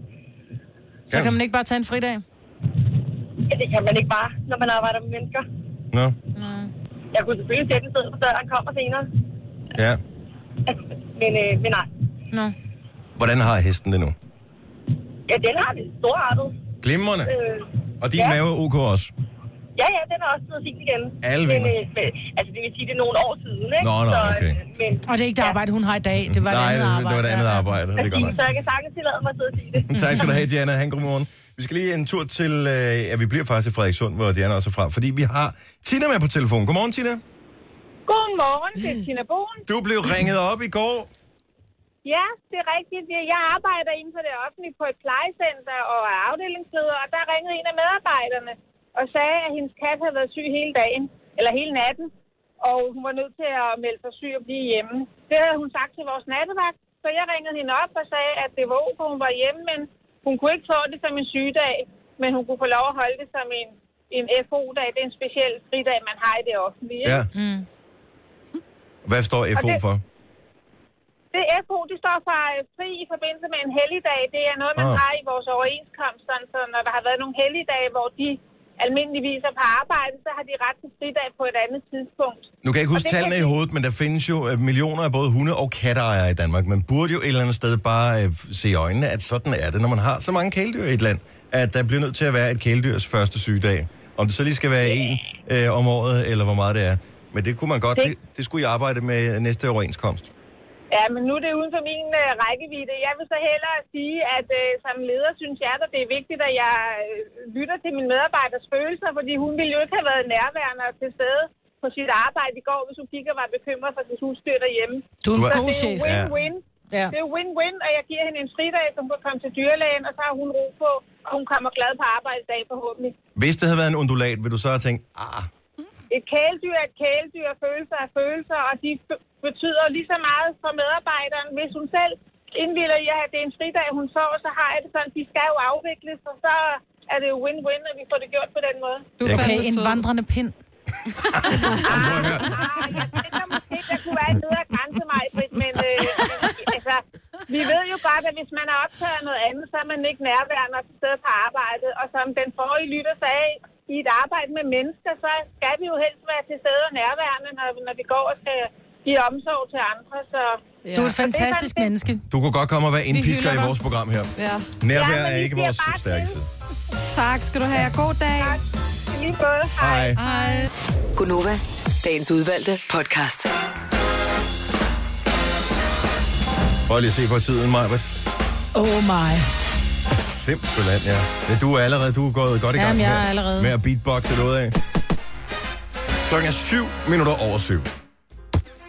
S4: Så kan man ikke bare tage en fridag?
S10: ja, det kan man ikke bare, når man arbejder med mennesker.
S1: Nå,
S10: Jeg kunne selvfølgelig sætte en sted på døren, kommer senere.
S1: ja.
S10: Men, øh, men nej,
S4: Nå.
S1: Hvordan har hesten det nu?
S10: ja, den har det storartet.
S1: Glimrende.
S10: Øh,
S1: Og din
S10: ja.
S1: ja. mave er ok også?
S10: Ja, ja, den er også blevet fint igen.
S1: Alle
S10: men,
S1: vinder.
S10: øh, men, altså, det vil sige, det er nogle år siden, ikke?
S1: Nå, nå,
S10: Så,
S1: okay.
S10: øh, men,
S4: Og det er ikke det arbejde, hun har i dag. Det var
S1: Nej,
S4: det andet arbejde.
S1: det var det andet arbejde. Det er godt nok.
S10: så jeg kan sagtens tillade mig at sidde og sige det.
S1: Tak skal du have, Diana. Han, godmorgen. Vi skal lige en tur til, øh, ja, vi bliver faktisk i Frederikssund, hvor Diana også er fra, fordi vi har Tina med på telefonen. Godmorgen, Tina.
S10: Godmorgen, det er Tina Bogen.
S1: Du blev ringet op i går.
S10: Ja, det er rigtigt. Jeg arbejder inden for det offentlige på et plejecenter og er afdelingsleder, og der ringede en af medarbejderne og sagde, at hendes kat havde været syg hele dagen, eller hele natten, og hun var nødt til at melde sig syg og blive hjemme. Det havde hun sagt til vores nattevagt, så jeg ringede hende op og sagde, at det var ok, hun var hjemme, men hun kunne ikke få det som en sygedag, men hun kunne få lov at holde det som en, en FO-dag. Det er en speciel fridag, man har i det offentlige. ikke?
S1: Ja. Hvad står FO
S10: det-
S1: for?
S10: Det FO, det står for øh, fri i forbindelse med en helligdag. Det er noget, man
S1: Ah.
S10: ah. har i vores overenskomst. Sådan, så når der har været nogle helligdage, hvor de almindeligvis er på arbejde, så har de ret til fridag på et andet tidspunkt.
S1: Nu kan jeg ikke huske
S10: Og det kan
S1: tallene i
S10: vi-
S1: hovedet, men der findes jo øh, millioner af både hunde og katteejere i Danmark. Man burde jo et eller andet sted bare øh, se i øjnene, at sådan er det, når man har så mange kæledyr i et land, at der bliver nødt til at være et kæledyrs første sygedag. Om det så lige skal være en øh, om året, eller hvor meget det er. Men det kunne man godt,
S10: Det-
S1: det, det skulle jeg arbejde med næste overenskomst.
S10: Ja, men nu er det uden for min øh, rækkevidde. Jeg vil så hellere sige, at øh, som leder synes jeg, at det er vigtigt, at jeg øh, lytter til min medarbejders følelser, fordi hun ville jo ikke have været nærværende og til stede på sit arbejde i går, hvis hun kigger var bekymret for sit husdyr derhjemme.
S4: Du
S1: Du
S4: er en
S1: er-
S10: Så
S4: god
S10: det er
S4: chef.
S10: jo win-win.
S4: Ja.
S10: Det er jo win-win, og jeg giver hende en fridag, som kan komme til dyrlægen, og så har hun ro på, og hun kommer glad på arbejde i dag forhåbentlig.
S1: Hvis det havde været en undulat, ville du så have tænkt, ah,
S10: Et kæledyr er et kæledyr, og følelser er følelser, og de f- betyder lige så meget for medarbejderen. Hvis hun selv indvilder i, at det er en fridag, hun får, så har jeg det sådan, de skal jo afvikles, og så er det jo win-win, at vi får det gjort på den måde.
S4: Du
S1: Jeg
S4: kan
S1: kan-
S4: have en vandrende pind.
S10: Ah, jeg tænker måske, der kunne være en nedre grænse, mig, men øh, altså, vi ved jo godt, at hvis man er optaget af noget andet, så er man ikke nærværende og til stede på arbejdet. Og som den forrige lytter sagde, i et arbejde med mennesker, så skal vi jo helst være til stede og nærværende, når, når vi går og skal give omsorg til andre. Så
S3: Ja.
S4: Du er et fantastisk
S10: det.
S4: menneske.
S1: du kunne godt komme og være indpisker
S4: hylder
S1: i
S4: dig.
S1: vores program her.
S3: ja.
S1: Nærvær
S10: Ja, men
S1: er
S10: vi
S1: ikke
S10: bliver
S1: vores
S10: bare
S1: stærke
S10: til.
S1: side.
S3: Tak skal du have. God dag.
S10: i lige måde, hej.
S1: Hej.
S7: Gunova, dagens udvalgte podcast.
S1: Prøv lige at se på tiden, Majbert.
S4: Oh my.
S1: Simpelthen, ja. ja. Du er allerede du er gået godt i gang
S4: Jamen, jeg
S1: med,
S4: er allerede.
S1: med at beatboxe noget af. Klokken er syv minutter over syv.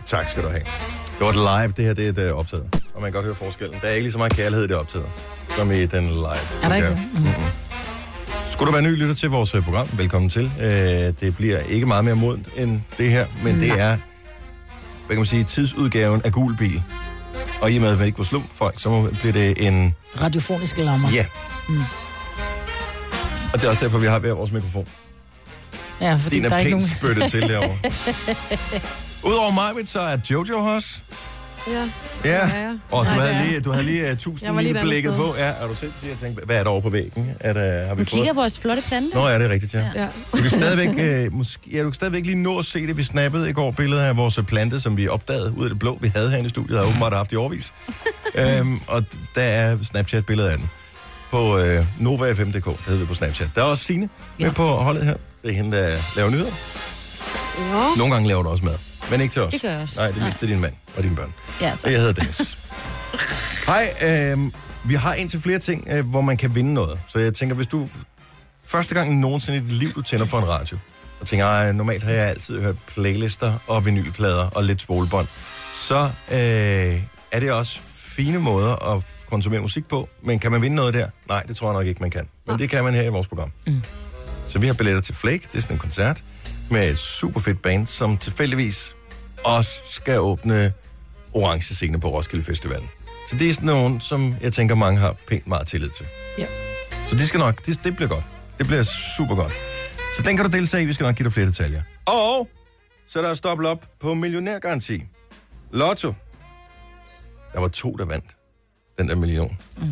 S1: Tak skal du have. Det var et live, det her det er et øh, optaget. Og man kan godt høre forskellen. Der er ikke lige så meget kærlighed i det optaget, som i den live.
S4: Er der ikke
S1: udgave.
S4: det?
S1: Skulle du være ny lytter til vores øh, program, velkommen til. Øh, Det bliver ikke meget mere modent end det her, men det er, hvad kan man sige, tidsudgaven af gul bil. Og i og med, at man ikke må slå folk, så må- bliver det en
S4: Radiofoniske lammer.
S1: Ja. Og det er også derfor, vi har hver vores mikrofon.
S4: Ja, fordi
S1: Din
S4: der er
S1: er
S4: ikke
S1: pænt
S4: nogen...
S1: spyttet til derovre. Udover mig, så er Jojo hos.
S3: Ja.
S1: Ja, og du
S3: Nej, det
S1: havde
S3: er-
S1: lige, du havde lige uh, 1000
S3: Jeg var lige et
S1: lige
S3: andet
S1: blikket
S3: sted.
S1: på. Ja, er du selv jeg tænkte, hvad er der over på væggen? Er der, har vi
S6: Du kigger
S1: fået?
S6: på vores flotte plante.
S1: Nå, ja, det er rigtigt, ja.
S3: Ja.
S1: Du kan stadigvæk, øh, måske, ja, du kan stadigvæk lige nå at se det. Vi snappede i går billeder af vores plante, som vi opdagede ud af det blå. Vi havde herinde i studiet, og åbenbart har haft i overvis. øhm, og d- der er Snapchat-billeder af den. På øh, NovaFM.dk, der hedder vi på Snapchat. Der er også Signe med på holdet her. Det er hende, der laver nyheder.
S3: Jo.
S1: Nogle gange laver du også mad, men ikke til os.
S6: Det gør jeg også.
S1: Nej, det er
S6: Nej.
S1: mest til din mand og dine børn.
S6: Ja,
S1: Så jeg hedder Dennis. Hej, øh, vi har en til flere ting, øh, hvor man kan vinde noget. Så jeg tænker, hvis du første gang nogensinde i dit liv, du tænder for en radio, og tænker, "Ej, normalt har jeg altid hørt playlister og vinylplader og lidt spolebånd, så øh, er det også fine måder at konsumere musik på. Men kan man vinde noget der? Nej, det tror jeg nok ikke, man kan. Men det kan man her i vores program. Så vi har billetter til Flake, det er sådan en koncert, med et super fedt band, som tilfældigvis også skal åbne orange scene på Roskilde Festivalen. Så det er sådan nogen, som jeg tænker, mange har pænt meget tillid til.
S3: Ja.
S1: Så det skal nok, det, det bliver godt. Det bliver super godt. Så den kan du deltage i, vi skal nok give dig flere detaljer. Og så er der stoppet op på millionærgaranti. Lotto. Der var to, der vandt den der million mm.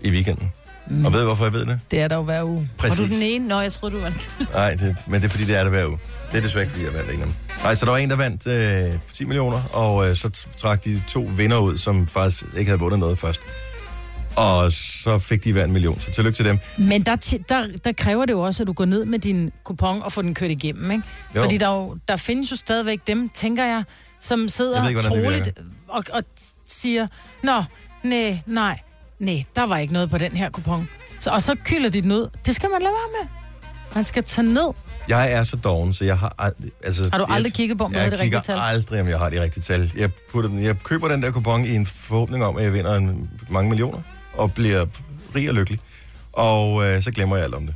S1: i weekenden. Mm. Og ved du, hvorfor jeg ved det?
S4: Det er der jo hver uge.
S1: Præcis.
S6: Var du den ene? Nå, jeg troede, du var den
S1: Nej, det, men det er fordi, det er det hver uge. Det er desværre ikke, fordi jeg vandt en af dem. Nej, så der var en, der vandt øh, 10 millioner, og øh, så t- trak de to vinder ud, som faktisk ikke havde vundet noget først. Og så fik de hver en million, så tillykke til dem.
S4: Men der, ti- der, der kræver det jo også, at du går ned med din kupon og får den kørt igennem, ikke?
S1: Jo.
S4: Jo. Fordi der, er jo, der findes jo stadigvæk dem, tænker jeg, som sidder
S1: Jeg ved
S4: jeg
S1: ikke, hvordan det
S4: troligt og, og siger, Nå, nej, nej, nej, der var ikke noget på den her kupon. Så, og så kylder de den ud. Det skal man lade være med. Man skal tage ned.
S1: Jeg er så doven, så jeg har aldrig... Altså,
S4: Har du
S1: jeg-
S4: aldrig kigget på, om du
S1: jeg
S4: havde det
S1: kigger
S4: rigtige tal?
S1: aldrig, om jeg har det rigtige tal. Jeg, putter den, jeg køber den der kupon i en forhåbning om, at jeg vinder en, mange millioner, og bliver rig og lykkelig. Og øh, så glemmer jeg alt om det.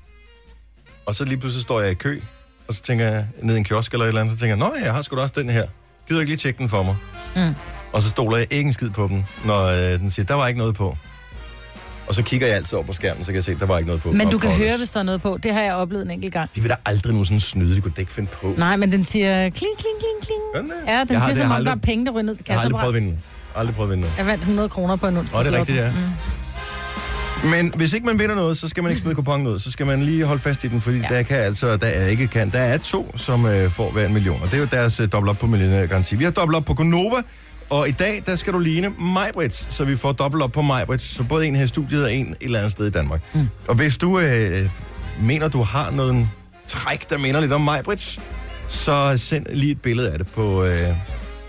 S1: Og så lige pludselig står jeg i kø, og så tænker jeg ned i en kiosk eller et eller andet, så tænker jeg, nå ja, jeg har sgu da også den her. Gider du ikke lige tjekke den for mig?
S4: Mm.
S1: Og så stoler jeg ikke en skid på den, når øh, den siger, der var ikke noget på. Og så kigger jeg altid op på skærmen, så kan jeg se, der var ikke noget på.
S4: Men
S1: Og
S4: du kan
S1: pokkers.
S4: høre, hvis der er noget på. Det har jeg oplevet en enkelt gang.
S1: De vil da aldrig nogensinde snyde, de kunne da ikke finde på.
S4: Nej, men den siger kling, kling, kling, kling.
S1: Gør den det?
S4: Ja, den
S1: Jeg har-
S4: siger,
S1: det
S4: som
S1: har
S4: om der
S1: aldrig-
S4: er penge, der ryger ned.
S1: Jeg har aldrig
S4: Kasseapparatet.
S1: prøvet at vinde den. Aldrig prøvet at vinde noget.
S4: Jeg vandt 100 kroner på en onsdag.
S1: Nå, det er rigtigt, ja.
S4: Mm.
S1: Men hvis ikke man vinder noget, så skal man ikke smide kuponen ud. Så skal man lige holde fast i den, fordi ja. der kan altså, der er ikke kan. Der er to, som øh, får hver en million, og det er jo deres øh, dobbelt op på millionærgaranti. Vi har dobbelt op på Gonova, og i dag, der skal du ligne Majbrits, så vi får dobbelt op på Majbrits. Så både en her i studiet og en et eller andet sted i Danmark. Mm. Og hvis du øh, mener, du har noget træk, der minder lidt om Majbrits, så send lige et billede af det på øh,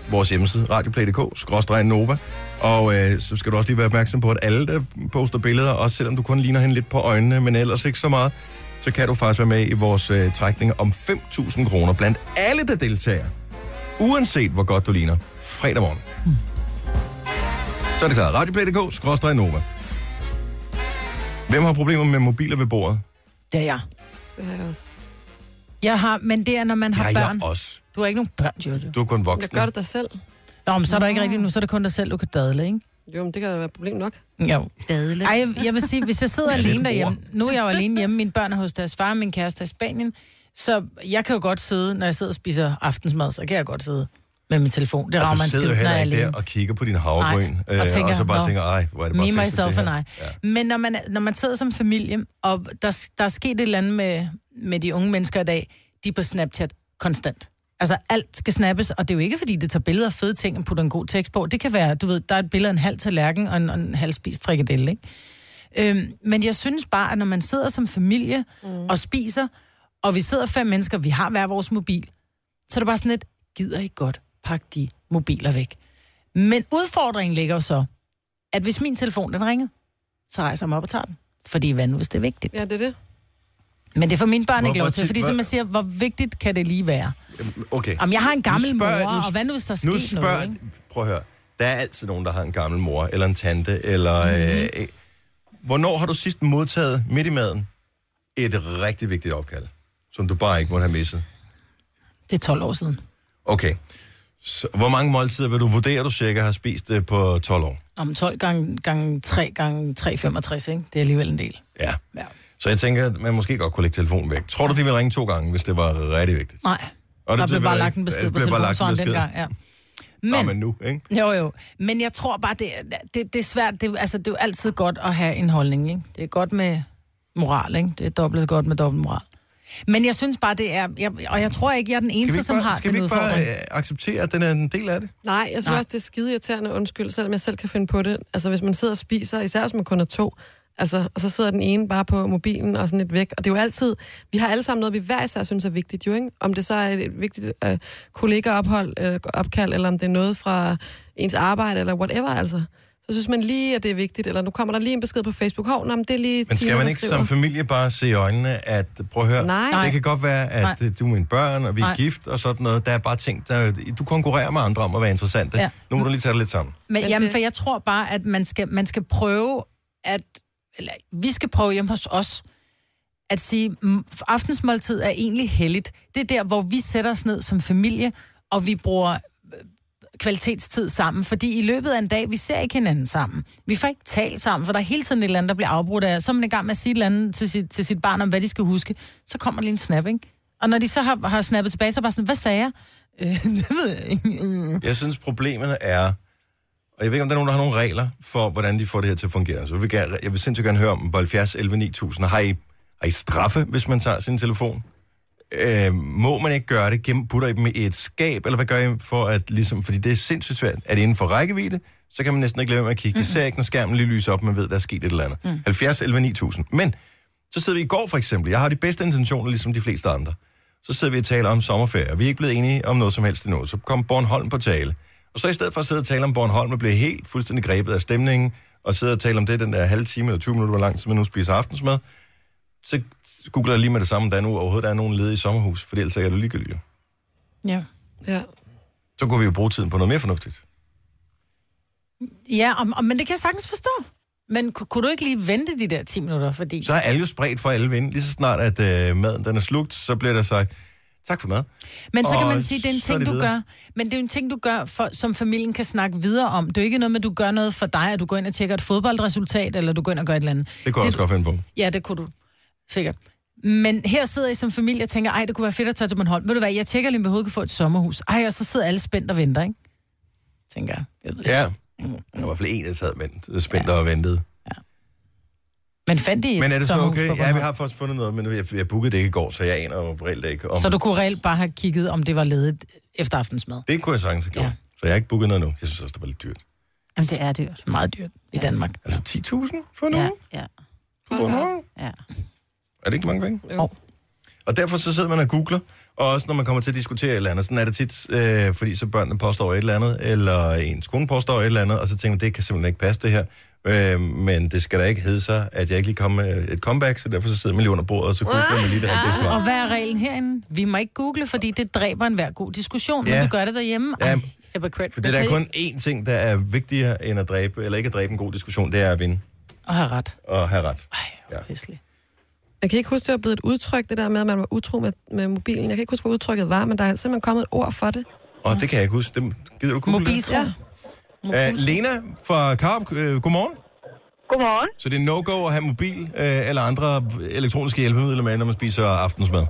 S1: vores hjemmeside, radioplay.dk, skråstrej Nova. Og øh, så skal du også lige være opmærksom på, at alle, der poster billeder, også selvom du kun ligner hende lidt på øjnene, men ellers ikke så meget, så kan du faktisk være med i vores øh, trækning om 5.000 kroner blandt alle, der deltager. Uanset hvor godt du ligner. Fredag morgen. Så er det klart. Radioplay.dk, skråstrej Nova. Hvem har problemer med mobiler ved bordet?
S4: Det er jeg.
S3: Det har jeg også.
S4: Jeg har, men det er, når man har
S1: jeg
S4: børn.
S1: også.
S4: Du har ikke nogen børn, Jojo.
S1: Du er kun
S3: Men
S1: voksen.
S3: gør det dig selv. Ah.
S4: Nå, men så er der ikke rigtigt nu, så er det kun dig selv, du kan dadle, ikke?
S3: Jo, men det kan da være et problem nok.
S4: Jo.
S6: dadle.
S4: Ej, jeg- jeg vil sige, hvis jeg sidder
S1: Ja, det er
S4: alene
S1: et
S4: derhjemme, nu er jeg jo alene hjemme, mine børn er hos deres far, min kæreste er i Spanien, så jeg kan jo godt sidde, når jeg sidder og spiser aftensmad, så kan jeg godt sidde med min telefon. Det
S1: Og
S4: rager
S1: du
S4: man
S1: sidder jo
S4: skidt, når
S1: heller
S4: jeg er
S1: ikke
S4: alene.
S1: der og kigger på din havregryn,
S4: Nej, og
S1: øh, og,
S4: tænker,
S1: så bare
S4: "Nå,
S1: tænker, ej, hvor er det bare
S4: Me,
S1: fedt,
S4: myself
S1: det
S4: and
S1: her."
S4: I. Ja. Men når man, når man sidder som familie, og der, der er sket et eller andet med, med de unge mennesker i dag, de er på Snapchat konstant. Altså alt skal snappes, og det er jo ikke, fordi det tager billeder af fede ting og putter en god tekst på. Det kan være, du ved, der er et billede af en halv tallerken og en, og en halv spist frikadelle, ikke? Øhm, men jeg synes bare, at når man sidder som familie mm. og spiser, og vi sidder fem mennesker, vi har hver vores mobil, så er det bare sådan lidt, gider I godt pakke de mobiler væk? Men udfordringen ligger jo så, at hvis min telefon den ringer, så rejser jeg mig op og tager den. Fordi hvad nu, hvis det er vigtigt?
S3: Ja, det er det.
S4: Men det får mine børn
S1: Hvor-
S4: ikke
S1: hvor
S4: lov til,
S1: tit-
S4: fordi
S1: hvor-
S4: som jeg siger, hvor vigtigt kan det lige være?
S1: Okay.
S4: Om jeg har en gammel
S1: spørger-
S4: mor,
S1: nu
S4: og hvad nu, hvis der
S1: Nu
S4: sker noget?
S1: spørg...
S4: Ikke?
S1: Prøv at høre. Der er altid nogen, der har en gammel mor, eller en tante, eller...
S4: Mhm.
S1: Mm-hmm. Øh, hvornår har du sidst modtaget midt i maden et rigtig vigtigt opkald, som du bare ikke måtte have misset?
S4: Det er 12 år siden.
S1: Okay. Så, hvor mange måltider vil du vurdere, du cirka har spist øh, på 12 år?
S4: Om 12 gange, gange 3 gange 365, ikke? det er alligevel en del.
S1: Ja.
S4: Ja.
S1: Så jeg tænker, at man måske godt kunne lægge telefonen væk. Tror du, de ville ringe to gange, hvis det var rigtig vigtigt?
S4: Nej,
S1: Og
S4: der
S1: det
S4: blev
S1: vil
S4: bare
S1: jeg
S4: lagt en
S1: ikke.
S4: besked
S1: Der
S4: på
S1: blev bare lagt en
S4: telefonsvaren
S1: besked.
S4: dengang. Ja.
S1: Men... Nå, men nu, ikke?
S4: Jo, jo. Men jeg tror bare, det, er- det, det er svært. Det, er- altså, det er jo altid godt at have en holdning, ikke? Det er godt med moral, ikke? Det er dobbelt godt med dobbelt moral. Men jeg synes bare, det er... Jeg, og jeg tror ikke, jeg er den
S1: Skal vi
S4: eneste,
S1: ikke
S4: som
S1: bare,
S4: har
S1: skal vi
S4: den
S1: ikke bare
S4: udfordring.
S1: øh, acceptere, at den er en del af det?
S3: Nej, jeg synes
S4: Nej.
S3: Nej. også, det er skide irriterende, undskyld, selvom jeg selv kan finde på det. Altså, hvis man sidder og spiser, især hvis man kun er to, altså, og så sidder den ene bare på mobilen og sådan lidt væk. Og det er jo altid, vi har alle sammen noget, vi hver især synes er vigtigt, jo, ikke? Om det så er et vigtigt øh, kollegaophold, øh, opkald, eller om det er noget fra ens arbejde, eller whatever, altså. Så synes man lige, at det er vigtigt, eller nu kommer der lige en besked på Facebook, hov, nå, men det er lige
S1: Men
S3: Tina,
S1: skal man
S3: der
S1: ikke
S3: skriver."
S1: som familie bare se i øjnene, at prøv at høre,
S3: Nej.
S1: det kan godt være, at
S4: Nej.
S1: Nej. du er mine børn, og vi er
S4: Nej.
S1: gift og sådan noget. Der er bare ting, der, du konkurrerer med andre om at være interessante.
S4: Ja.
S1: Ja. Nu må du lige tage det lidt sammen.
S4: Men,
S3: Men
S4: jamen,
S3: det-
S4: for jeg tror bare, at man skal, man skal prøve at... Eller, vi skal prøve hjemme hos os at sige, "Mm, aftensmåltid er egentlig heldigt. Det er der, hvor vi sætter os ned som familie, og vi bruger øh, kvalitetstid sammen, fordi i løbet af en dag, vi ser ikke hinanden sammen. Vi får ikke talt sammen, for der er hele tiden et eller andet, der bliver afbrudt af. Så er man i gang med at sige et eller andet til sit, til sit barn om, hvad de skal huske. Så kommer der lige en snap, ikke? Og når de så har, har snappet tilbage, så er jeg bare sådan, hvad sagde jeg? Øh, det ved jeg ikke.
S1: Jeg synes, problemet er, og jeg ved ikke, om der er nogen, der har nogle regler for, hvordan de får det her til at fungere. Så jeg vil, gerne, jeg vil sindssygt gerne høre om på 70 11 9000. Har I, har I straffe, hvis man tager sin telefon? Øh, må man ikke gøre det? Gem, putter I dem i et skab? Eller hvad gør I for at ligesom... Fordi det er sindssygt svært. Er det inden for rækkevidde? Så kan man næsten ikke lade være med at kigge. Især ikke, når skærmen lige lyser op, man ved, der er sket et eller andet. Mm. 70 11 9000. Men så sidder vi i går for eksempel. Jeg har de bedste intentioner, ligesom de fleste andre. Så sidder vi og taler om sommerferie, og vi er ikke blevet enige om noget som helst endnu. Så kom Bornholm på tale. Og så i stedet for at sidde og tale om Bornholm, og blive helt fuldstændig grebet af stemningen, og sidde og tale om det den der halve time eller 20 minutter, hvor langt man nu spiser aftensmad, så googler jeg lige med det samme, om der nu overhovedet er nogen ledige sommerhus, for ellers er det ligegyldigt. jo.
S4: Ja.
S3: Ja.
S1: Så kunne vi jo bruge tiden på noget mere fornuftigt.
S4: Ja, og, og, men det kan jeg sagtens forstå. Men ku- kunne du ikke lige vente de der 10 minutter, fordi...
S1: Så er alle jo spredt for alle vinde. Lige så snart, at øh, maden den er slugt, så bliver der sagt, tak for mad.
S4: men så kan
S1: og
S4: man sige, det er en
S1: så er
S4: ting,
S1: det
S4: du
S1: videre.
S4: gør. Men det er jo en ting, du gør, for, som familien kan snakke videre om. Det er jo ikke noget med, at du gør noget for dig, at du går ind og tjekker et fodboldresultat, eller du går ind og gør et eller andet.
S1: Det kunne jeg også godt finde på.
S4: Ja, det kunne du. Sikkert. Men her sidder I som familie og tænker, ej, det kunne være fedt at tage til Bornholm. Ved du hvad, jeg tjekker lige, om vi overhovedet kan få et sommerhus. Ej, og så sidder alle spændt og venter, ikke? Tænker jeg. jeg ved.
S1: Ja. Der var i hvert fald en, der sad vent, spændt og ventede.
S4: Men fandt I et
S1: Men er det så
S4: sommerhus
S1: okay?
S4: på
S1: Ja,
S4: Bornholm?
S1: vi har faktisk fundet noget, men jeg, jeg bookede det ikke i går, så jeg aner jo reelt ikke om...
S4: Så du kunne reelt bare have kigget, om det var ledet efter aftensmad.
S1: Det kunne jeg sagtens have gjort.
S4: Ja.
S1: Ja. Så jeg har ikke booket noget nu. Jeg synes også, det var lidt dyrt.
S6: Jamen, det er dyrt.
S4: Meget dyrt i Danmark.
S1: Altså 10.000 for nu?
S6: Ja,
S1: Ja.
S6: ja, ja.
S1: Er det ikke mange penge?
S3: Jo.
S1: Og derfor så sidder man og googler, og også når man kommer til at diskutere et eller andet, sådan er det tit, øh, fordi så børnene påstår et eller andet, eller ens kone påstår et eller andet, og så tænker man, det kan simpelthen ikke passe det her, øh, men det skal da ikke hedde sig, at jeg ikke lige kom med et comeback, så derfor så sidder man lige under bordet, og så googler man lige det rigtige
S4: Ah, Og
S1: svar.
S4: hvad er reglen herinde? Vi må ikke google, fordi det dræber enhver god diskussion, ja.
S1: Ja.
S4: men vi gør det derhjemme. Ej,
S1: Ja,
S4: hypocrite.
S1: For det er der kun én ting, der er vigtigere end at dræbe, eller ikke at dræbe en god diskussion, det er at vinde
S4: Og har ret.
S1: og have ret.
S4: Ej,
S1: Ja.
S4: ja.
S3: Jeg kan ikke huske, det var blevet et udtryk, det der med, at man var utro med, med mobilen. Jeg kan ikke huske, hvor udtrykket var, men der er simpelthen kommet et ord for det.
S1: Og det kan jeg ikke huske. Det, gider du google det?
S4: Mobiltro. Ja.
S1: Uh, Lena fra Karup, øh, godmorgen.
S10: Godmorgen.
S1: Så det er no-go at have mobil øh, eller andre elektroniske hjælpemidler med, når man spiser aftensmad.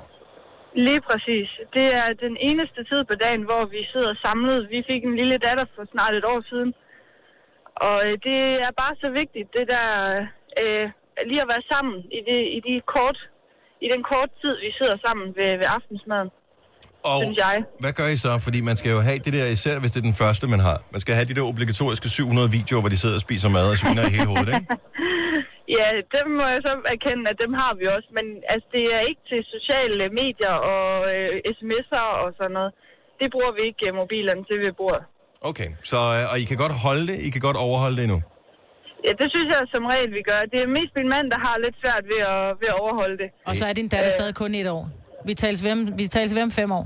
S10: Lige præcis. Det er den eneste tid på dagen, hvor vi sidder samlet. Vi fik en lille datter for snart et år siden. Og øh, det er bare så vigtigt, det der øh, lige at være sammen i, det, i, de kort, i den korte tid, vi sidder sammen ved, ved aftensmaden,
S1: Og
S10: synes jeg.
S1: hvad gør I så? Fordi man skal jo have det der, især hvis det er den første, man har. Man skal have de der obligatoriske 700 videoer, hvor de sidder og spiser mad og sviner i hele hovedet, ikke?
S10: Ja, dem må jeg så erkende, at dem har vi også. Men altså, det er ikke til sociale medier og øh, sms'er og sådan noget. Det bruger vi ikke øh, mobilerne til ved bordet.
S1: Okay, så øh, og I kan godt holde det, I kan godt overholde det endnu.
S10: Ja, det synes jeg som regel, vi gør. Det er mest min mand, der har lidt svært ved at, ved at overholde det.
S4: Og så er din datter stadig kun et år. Vi tales ved om, vi tales ved om fem år.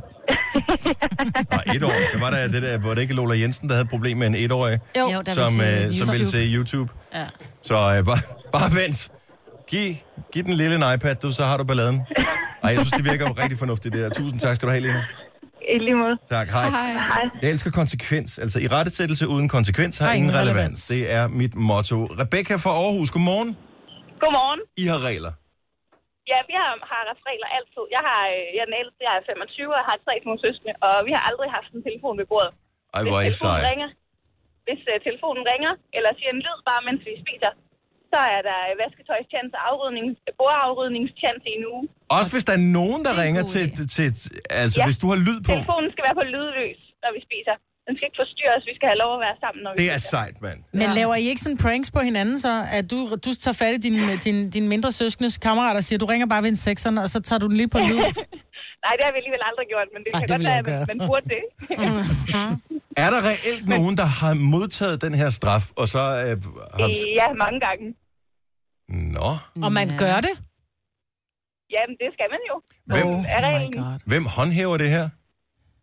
S1: Og et år, der var der det der, hvor det ikke Lola Jensen, der havde et problem med en etårig,
S6: Jo, der
S1: som,
S6: vil
S1: øh,
S6: sige
S1: som ville se YouTube.
S6: Ja.
S1: Så øh, bare, bare vent. Giv, giv den lille en iPad, du, så har du balladen. Ej, jeg synes, det virker jo rigtig fornuftigt, det her. Tusind tak skal du have, Lena.
S10: I lige måde.
S1: Tak, hej. hej. Jeg elsker konsekvens. Altså, i rettesættelse uden konsekvens har
S4: Har
S1: ingen
S4: ingen
S1: relevans.
S4: relevans.
S1: relevans. Det er mit motto. Rebecca fra Aarhus, godmorgen.
S10: Godmorgen.
S1: I har regler.
S10: Ja, vi har, har haft regler altid. Jeg, har, øh, jeg er den ældste, jeg er 25, og jeg har tre små søskende, og vi har aldrig haft en telefon ved bordet.
S1: Ej,
S10: hvis
S1: hvor er I
S10: telefonen
S1: sej.
S10: ringer, hvis uh, telefonen ringer, eller siger en lyd bare, mens vi spiser, så er der øh, vasketøjstjans og afrydnings, bordafrydningstjans i en uge.
S1: Også hvis der er nogen, der ringer til, til, altså
S10: Ja.
S1: ja. hvis du har lyd på.
S10: Telefonen skal være på lydløs, når vi spiser. Den skal ikke forstyrre os, vi skal have lov at være sammen, når vi
S1: Det er
S10: spiser.
S1: sejt, mand.
S4: Men laver I ikke sådan pranks på hinanden så, at du, du tager fat i din, din, din mindre søskendes kammerat og siger, du ringer bare ved en sekseren, og så tager du den lige på lyd?
S10: Nej, det har vi alligevel aldrig gjort, men det
S4: Ej,
S10: kan
S4: det
S10: godt
S4: vil jeg
S10: være, at man,
S4: gøre.
S10: man burde det.
S4: Mm-hmm.
S1: Er der reelt nogen, der har modtaget den her straf, og så øh, har...
S10: ja, mange gange. Oh
S1: Nå.
S4: Og man gør det?
S10: Jamen, det skal man jo.
S1: Hvem,
S4: Oh
S10: Det er reglen.
S1: hvem håndhæver det her?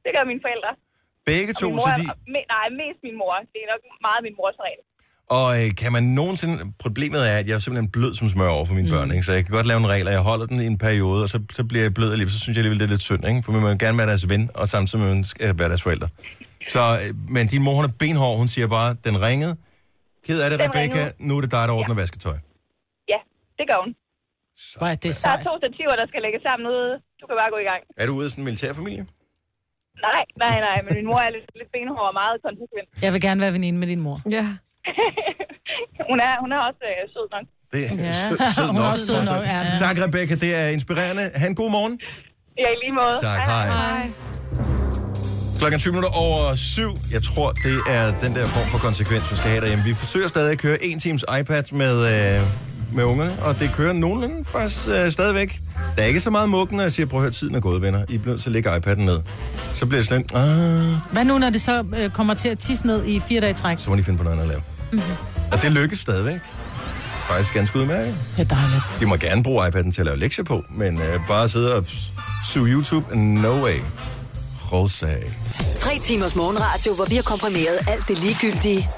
S10: Det gør mine forældre.
S1: Begge
S10: Og
S1: to,
S10: min mor,
S1: så
S10: er-
S1: de...
S10: og me, nej, mest min mor. Det er nok meget min mors regel.
S1: Og øh, kan man nogensinde... Problemet er, at jeg er simpelthen blød som smør over for mine mm. børn, ikke? så jeg kan godt lave en regel, og jeg holder den i en periode, og så, så bliver jeg blød alligevel, så synes jeg alligevel, det er lidt synd, ikke? for man vil jo gerne være deres ven, og samtidig vil man øh, være deres forældre. Så, øh, men din mor, hun er benhård, hun siger bare, den ringede. Ked af det,
S10: Den
S1: Rebecca,
S10: ringede.
S1: nu er det dig, der ordner ja. vasketøj.
S10: Ja, det gør hun.
S4: Nej, det er
S10: Der er
S4: sejt.
S10: to stativer, der skal lægges sammen ude. Du kan bare gå i gang.
S1: Er du ude af sådan en militærfamilie?
S10: Nej, nej, nej, men min mor er lidt, lidt benhård og meget konsekvent.
S4: Jeg vil gerne være veninde med din mor.
S3: Ja.
S10: Hun er, hun er også øh, sød nok.
S1: Det er ja.
S4: Ja.
S1: sød, sød
S4: Hun
S1: nok. Altså,
S4: er også sød nok, ja.
S1: Tak, Rebecca. Det er inspirerende. Ha' en god morgen.
S10: Ja, i lige måde.
S1: Tak, hej.
S3: Hej.
S1: Klokken er 20 minutter over syv. Jeg tror, det er den der form for konsekvens, vi skal have derhjemme. Vi forsøger stadig at køre en times iPad med, øh, med ungerne, og det kører nogenlunde faktisk øh, stadigvæk. Der er ikke så meget mukken, når jeg siger, prøv at høre, tiden er gået, venner. I bliver nødt til at lægge iPad'en ned. Så bliver det sådan, ah,
S4: Hvad nu, når det så øh, kommer til at tisse ned i fire dage i træk?
S1: så må de finde på noget andet at lave. Mm-hmm. Og det lykkes stadigvæk. Faktisk ganske udmærket.
S4: Det er dejligt.
S1: De må gerne bruge iPad'en til at lave lektier på, men øh, bare sidde og suge YouTube, no way. Rosag.
S7: Tre timers morgenradio, hvor vi har komprimeret alt det ligegyldige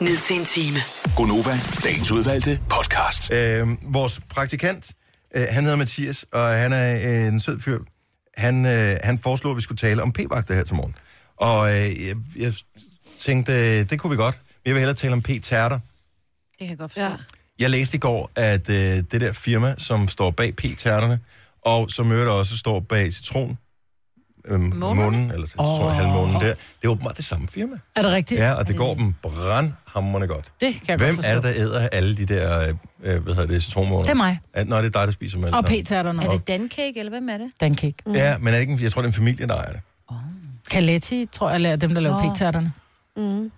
S7: ned til en time.
S8: Gonova, dagens udvalgte podcast.
S1: Øh, vores praktikant, øh, han hedder Mathias, og han er øh, en sød fyr. Han, øh, han foreslog, at vi skulle tale om p-vagter her til morgen. Og øh, jeg, jeg tænkte, øh, det kunne vi godt. Men jeg vil hellere tale om p-tærter.
S6: Det kan jeg godt forstå.
S3: Ja.
S6: Ja.
S1: Jeg læste i går, at øh, det der firma, som står bag p-tærterne, og som øvrigt også står bag citron, øh, månen, eller citron, oh. halvmånen der, det er åbenbart det samme firma.
S4: Er det rigtigt?
S1: Ja, og det går dem brandhammerne godt.
S4: Det kan jeg
S1: Hvem
S4: godt forstå.
S1: er det, der æder alle de der, øh, øh, hvad hedder det, citronmåner?
S4: Det er mig.
S1: Ja, Nå, det er dig, der spiser med.
S4: Og p-tærterne.
S6: Er det Dancake, eller hvem er det?
S4: Dancake.
S1: Ja, men er det ikke, en- jeg tror, det er en familie, der ejer det.
S4: Kaletti, tror jeg, er dem, der laver
S6: Nå.
S4: pigtærterne.
S3: Mm.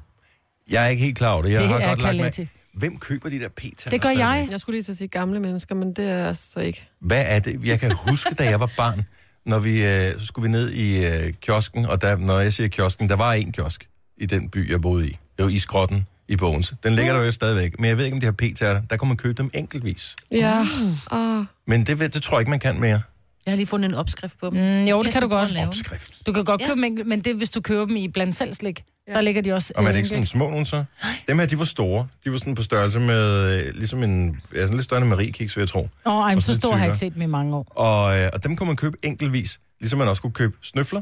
S1: Jeg er ikke helt klar over det. Jeg
S4: Det
S1: har
S4: er
S1: godt lagt mig.
S4: Caletti.
S1: Hvem køber de der p
S4: Det gør jeg.
S3: Jeg skulle lige til at sige gamle mennesker, men det er jeg så ikke.
S1: Hvad er det? Jeg kan huske, da jeg var barn, når vi, øh, så skulle vi ned i øh, kiosken, og der, når jeg siger kiosken, der var en kiosk i den by, jeg boede i. Det var Iskrotten i Bogense. Den ligger der jo stadigvæk, men jeg ved ikke, om de har p-tærter. Der kunne man købe dem enkeltvis.
S3: Ja.
S4: Mm.
S3: Ah. Åh.
S1: Men det, ved- det tror jeg ikke, man kan mere.
S6: Jeg har lige fundet en opskrift på dem.
S4: Mm, jo, det kan du godt.
S1: Skrift.
S4: Du kan godt
S6: Ja.
S4: købe dem, enkelt, men det er, hvis du køber dem i blandt selv slik. Der ligger de også.
S1: Og man er det
S4: øh,
S1: ikke sådan
S4: enkelt.
S1: små nogen så? Dem her, de var store. De var sådan på størrelse med, øh, ligesom en, ja, sådan lidt større end Marie-kiks, vil jeg tro.
S4: Åh, oh,
S1: og
S4: så
S1: sådan
S4: stor har
S1: tykkere.
S4: jeg ikke set dem i mange år.
S1: Og, øh, og dem kunne man købe enkeltvis, ligesom man også kunne købe snøfler,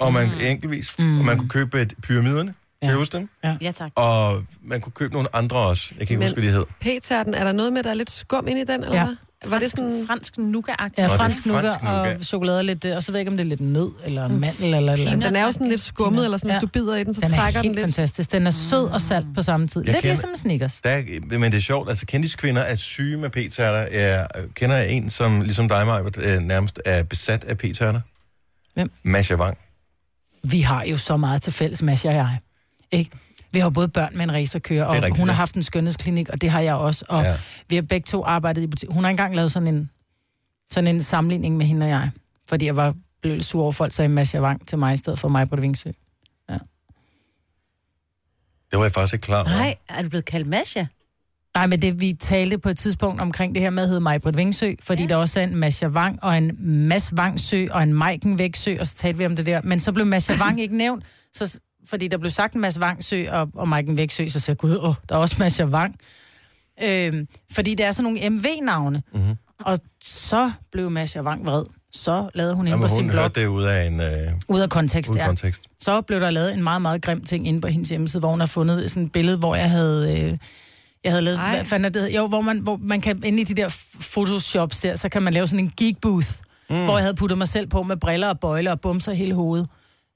S1: og man mm. enkeltvis, mm. og man kunne købe øh, pyramiderne, ja. kan I huske dem?
S6: Ja, tak.
S1: Og man kunne købe nogle andre også, jeg kan ikke Men...
S3: Men-
S1: huske, hvad de hed.
S3: P-tærten, er der noget med, at der er lidt skum ind i den, eller
S4: Ja.
S3: hvad? Var det sådan...
S6: Fransk nougat-agtigt.
S4: Ja,
S1: det er
S4: fransk nukker
S1: fransk nougat.
S4: og chokolade lidt, øh, og så ved jeg ikke, om det er lidt nød eller mandel eller et eller andet.
S3: Den er jo sådan lidt skummet, eller sådan,
S4: Ja.
S3: hvis du bider i den, så
S4: Den er
S3: trækker den
S4: helt
S3: lidt. Mm.
S4: fantastisk. Den er sød og salt på samme tid.
S1: Jeg
S4: Lidt
S1: kender-
S4: ligesom en Snickers.
S1: Der, er- men det er sjovt, altså kendiskvinder er syge med p-tærter. Jeg kender en, som ligesom dig, Maja, øh, nærmest er besat af p-tærter.
S4: Hvem?
S1: Masha Wang.
S4: Vi har jo så meget til fælles, Mads og jeg. Ikke? Vi har jo både børn med en racerkører, og
S1: Det er rigtigt,
S4: hun har
S1: ja.
S4: haft en skønhedsklinik, og det har jeg også. Og
S1: Ja.
S4: ja. vi har begge to arbejdet i butik. Hun har engang lavet sådan en, sådan en sammenligning med hende og jeg. Fordi jeg var blev lidt sur over folk, sagde Mads Javang til mig i stedet for mig på det Vingsø.
S1: Det var jeg faktisk ikke klar over.
S6: Nej, er du blevet kaldt Masha?
S4: Nej, men det vi talte på et tidspunkt omkring det her med, hed mig på et Vingsø, fordi ja. der også er en Mads Javang og en Mads Vangsø og en Maiken Væksø, og så talte vi om det der. Men så blev Mads Javang ikke nævnt, så, fordi der blev sagt en Mads Vangsø og, og Maiken Væksø, så sagde jeg, gud, åh, der er også Mads Javang. Øhm, fordi der er sådan nogle MV-navne. Mm-hmm. Og så blev Mads Javang vred. Så lavede hun inde
S1: Jamen,
S4: på sin
S1: hun
S4: blog,
S1: hørte det ud af en øh,
S4: ud af kontekst,
S1: ud af
S4: ja.
S1: kontekst.
S4: Så blev der lavet en meget, meget grim ting inde på hendes hjemmeside, hvor hun har fundet sådan et billede, hvor jeg havde... Øh, jeg havde lavet,
S3: Ej.
S4: hvad fanden er det? Jo, hvor man, hvor man kan, inde i de der f- photoshops der, så kan man lave sådan en geek booth, mm. hvor jeg havde puttet mig selv på med briller og bøjler og bumser i hele hovedet.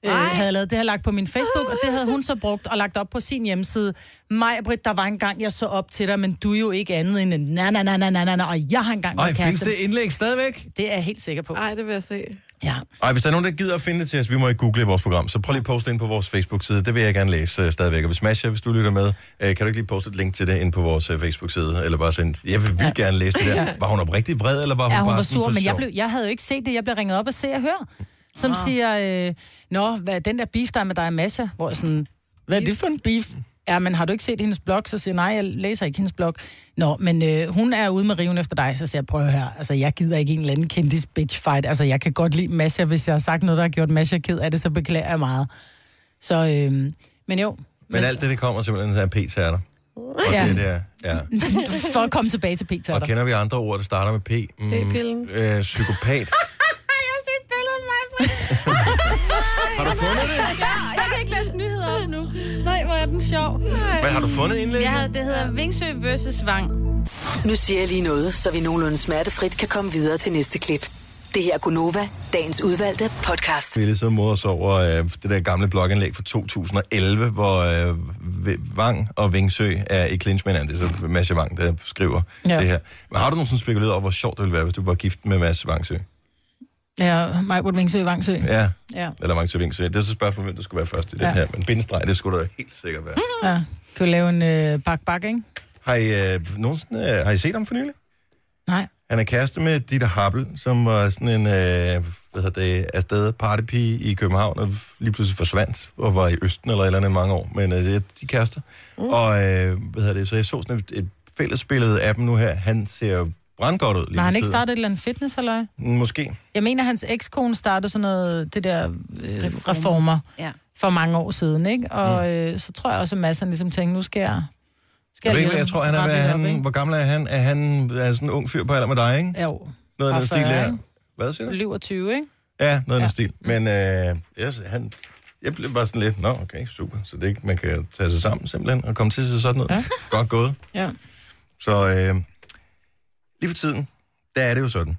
S4: øh, havde lavet. Det havde jeg lagt på min Facebook, og det havde hun så brugt og lagt op på sin hjemmeside. Mig, Britt, der var engang, jeg så op til dig, men du er jo ikke andet end en na na na na na na, na og jeg har engang
S1: Ej,
S4: været
S1: findes
S4: kæreste.
S1: det indlæg stadigvæk?
S4: Det er jeg helt sikker på.
S3: Nej, det vil jeg se.
S4: Ja.
S1: Ej, hvis der er nogen, der gider at finde det til os, vi må ikke google i vores program, så prøv lige at poste ind på vores Facebook-side. Det vil jeg gerne læse øh, stadigvæk. Og hvis Masha, hvis du lytter med, øh, kan du ikke lige poste et link til det ind på vores øh, Facebook-side? Eller bare sende... Jeg vil vildt gerne læse det der. Var hun oprigtigt vred, eller var hun
S4: Ja, hun
S1: bare
S4: var
S1: sådan
S4: sur,
S1: for
S4: men jeg,
S1: sjov?
S4: blev, jeg havde jo ikke set det. Jeg blev ringet op og se og høre, som ah. siger, øh, Nå, hvad, den der beef, der er med dig, Masha, hvor jeg sådan, hvad er det for en beef? Ja, men har du ikke set hendes blog? Så siger jeg, nej, jeg læser ikke hendes blog. Nå, men øh, hun er ude med riven efter dig, så siger jeg, prøv her. Altså, jeg gider ikke en eller anden kendis bitch fight. Altså, jeg kan godt lide Masha, hvis jeg har sagt noget, der har gjort Masha ked af det, så beklager jeg meget. Så, øh, men jo,
S1: Men alt det, det kommer simpelthen af p-tærter. Og
S4: Ja.
S1: det der, ja.
S4: for at komme tilbage til Peter.
S1: Og kender vi andre ord, der starter med P? Mm,
S3: P-pillen.
S1: Øh, psykopat.
S4: Jeg har set billedet af mig, Britt.
S1: Har du fundet det?
S6: Ja, jeg kan ikke læse nyheder om nu. Nej, hvor er den sjov.
S1: Hvad har du fundet indlæg?
S6: Jeg havde, det hedder Vingsø vs. Svang.
S7: Nu siger jeg lige noget, så vi nogenlunde smertefrit kan komme videre til næste klip. Det her er Gunova, dagens udvalgte podcast.
S1: Vi er lidt så mod os over øh, det der gamle blogindlæg fra 2011, hvor øh, V- Vang og Vingsø er i clinch med hinanden. Det er så Mads Vang, der skriver ja.
S4: Ja.
S1: det her. Men har du nogensinde spekuleret over, hvor sjovt det ville være, hvis du var gift med Mads Vangsø?
S4: Ja, Maj Wingsø Vangsø.
S1: Ja.
S4: Ja.
S1: Eller Vangsø Vingsø. Det er så spørgsmålet, hvem der skulle være først i ja.
S4: Ja.
S1: den her. Men bindestreg, det skulle der helt sikkert være.
S4: Ja, kan du lave en øh, bak-bak, ikke?
S1: Har I, øh, nogensinde, øh, har I set ham for nylig?
S4: Nej.
S1: Han er kæreste med Dieter Happel, som var sådan en, øh, hvad hedder det, afsted partypige i København, og lige pludselig forsvandt, og var i Østen eller et eller andet i mange år, men øh, det er de kærester. Mm. Og, øh, hvad hedder det, så jeg så sådan et, et fællesbillede af dem nu her, han ser jo brandgodt ud. lige
S4: Var han
S1: for
S4: ikke Øh,
S1: tiden.
S4: startet et eller andet fitness, halløj?
S1: Måske.
S4: Jeg mener, hans ekskone startede sådan noget, det der øh, reformer. reformer
S6: Ja.
S4: for mange år siden, ikke?
S1: Mm.
S4: Og øh, så tror jeg også, at Mads han ligesom tænkte, nu skal jeg... Skal
S1: Jeg, ved, ikke,
S4: leve
S1: jeg tror, han er,
S4: ret
S1: hvad,
S4: lidt op,
S1: han,
S4: ikke?
S1: hvor gammel er han? Er han er sådan en ung fyr på alder med dig, ikke?
S4: Jo,
S1: Noget af den
S4: Og
S1: stil
S4: 40,
S1: der.
S4: ikke?
S1: Hvad siger
S4: du
S1: du?
S4: lever 20, ikke?
S1: Ja, noget af den stil. Men øh, yes, han, jeg blev bare sådan lidt, nå okay, super. Så det er ikke, man kan tage sig sammen simpelthen og komme til sig sådan noget. Ja.
S4: Ja.
S1: Godt gået.
S4: Ja.
S1: Så øh, lige for tiden, der er det jo sådan,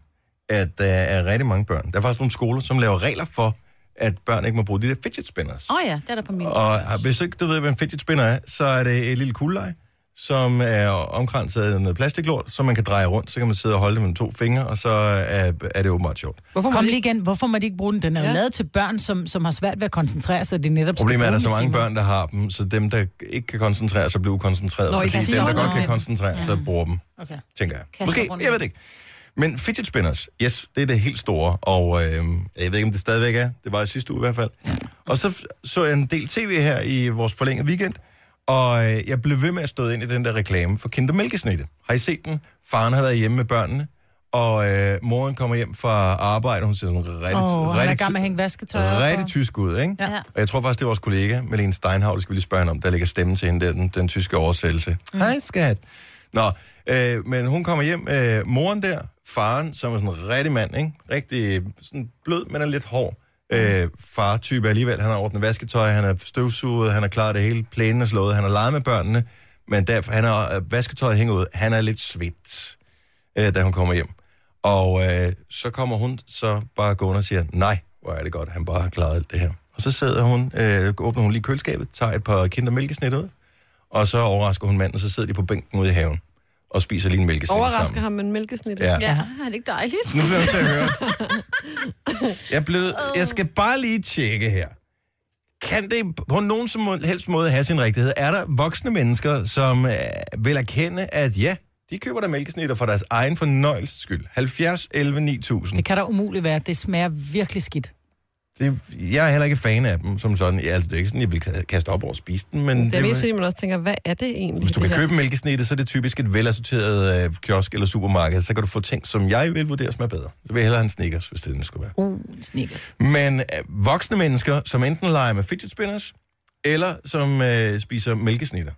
S1: at der er rigtig mange børn. Der er faktisk nogle skoler, som laver regler for, at børn ikke må bruge de der fidget spinners.
S6: Åh oh, ja, det er der på min.
S1: Og har- hvis ikke du ved, hvad en fidget spinner er, så er det et lille kuglelej, som er omkranset af noget plastiklort, som man kan dreje rundt. Så kan man sidde og holde det med to fingre, og så er, er det åbenbart sjovt.
S4: Hvorfor Kom lige igen, hvorfor må de ikke bruge den? Den er jo ja. lavet til børn, som, som har svært ved at koncentrere sig. Det er netop skal
S1: Problemet er, at der er så
S4: bruge den i
S1: mange
S4: timen.
S1: børn, der har dem, så dem, der ikke kan koncentrere sig, bliver ukoncentreret. Nå,
S3: Nå, I
S1: fordi dem,
S3: kan
S1: der
S3: sige
S1: godt
S3: noget.
S1: kan koncentrere sig, bruger dem,
S4: Okay.
S1: tænker jeg.
S6: Kaster
S1: Måske,
S6: rundt
S1: jeg
S6: med.
S1: ved det ikke. Men fidget spinners, yes, det er det helt store, og øh, jeg ved ikke, om det stadigvæk er. Det var i sidste uge i hvert fald. Og så f- så jeg en del tv her i vores forlængede weekend, og øh, jeg blev ved med at stå ind i den der reklame for Kinder Mælkesnitte. Har I set den? Faren har været hjemme med børnene, og øh, moren kommer hjem fra arbejde, og hun ser sådan rigtig,
S4: Åh, oh, han er i
S1: rigtig,
S4: gang med at hænge vasketøj. op,
S1: rigtig
S4: og-
S1: tysk ud, ikke?
S6: Ja.
S1: Og jeg tror faktisk, det er vores kollega, Malene Steinhav, det skal vi lige spørge hende om, der lægger stemme til hende, der, den, den tyske oversættelse. Mm. Hej, skat. Nå, øh, men hun kommer hjem, øh, moren der, faren, som er sådan en rigtig mand, ikke? Rigtig øh, sådan blød, men er lidt hård øh, far-type alligevel. Han har ordnet vasketøj, han er støvsuget, han har klaret det hele, plænen er slået, han har leget med børnene, men derfor, han har øh, vasketøjet hænger ud, han er lidt svedt, øh, da hun kommer hjem. Og øh, så kommer hun så bare gående og siger, nej, hvor er det godt, han bare har klaret alt det her. Og så sidder hun, øh, åbner hun lige køleskabet, tager et par kinder mælkesnit ud, og så overrasker hun manden, og så sidder de på bænken ude i haven og spiser lige en mælkesnit
S3: Overrasker
S1: sammen.
S3: ham med en mælkesnit.
S1: Ja.
S6: Ja, er det ikke dejligt?
S1: Nu bliver jeg nødt til at høre. Mm, Jeg, blev, jeg skal bare lige tjekke her. Kan det på nogen som helst måde have sin rigtighed? Er der voksne mennesker, som øh, vil erkende, at ja, de køber der mælkesnitter for deres egen fornøjelses skyld? 70, 11, 9000.
S4: Det kan da umuligt være. Det smager virkelig skidt.
S1: Det, jeg er heller ikke fan af dem som sådan. Ja, altså, det er ikke sådan, jeg vil ka- kaste op over at spise dem, men
S3: Det er mest,
S1: det,
S3: fordi man også tænker, hvad er det egentlig?
S1: hvis du
S3: det
S1: kan
S3: her?
S1: købe mælkesnitte, så er det typisk et velassorteret øh, kiosk eller supermarked. Så kan du få ting, som jeg vil vurdere smager bedre. Så vil jeg hellere have en Snickers, hvis det den skulle være.
S4: Uh, snikkes.
S1: Men øh, voksne mennesker, som enten leger med fidget spinners, eller som øh, spiser mælkesnitter.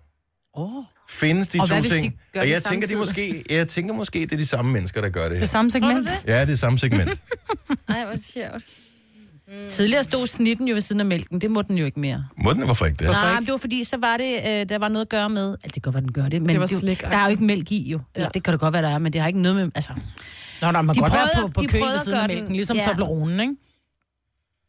S4: Åh.
S1: Findes de
S6: Og
S1: to
S6: hvad hvis de
S1: ting?
S6: gør
S1: og
S6: det
S1: jeg tænker, de måske, jeg tænker måske, det er de samme mennesker, der gør det
S4: Det
S1: her.
S4: samme segment.
S1: Ja, det er samme segment.
S6: Nej, hvor sjovt. Tidligere stod snitten jo ved siden af mælken. Det må den jo ikke mere.
S1: Må den, hvorfor ikke det?
S6: Nej, men det var fordi, så var det, øh, der var noget at gøre med... Altså, det kan godt være, den gør det, men
S3: Det var
S6: det jo-
S3: slik, ej.
S6: der er jo ikke mælk i jo. Ja. Det kan det godt være, der er, men det har ikke noget med... Altså,
S4: Nå, der må
S6: De
S4: godt være
S6: prøvede-
S4: på, på
S6: de
S4: køen
S6: prøvede
S4: ved
S6: at
S4: siden af
S6: gøre den-
S4: mælken, ligesom
S6: ja.
S4: ja. Tobleronen, ikke?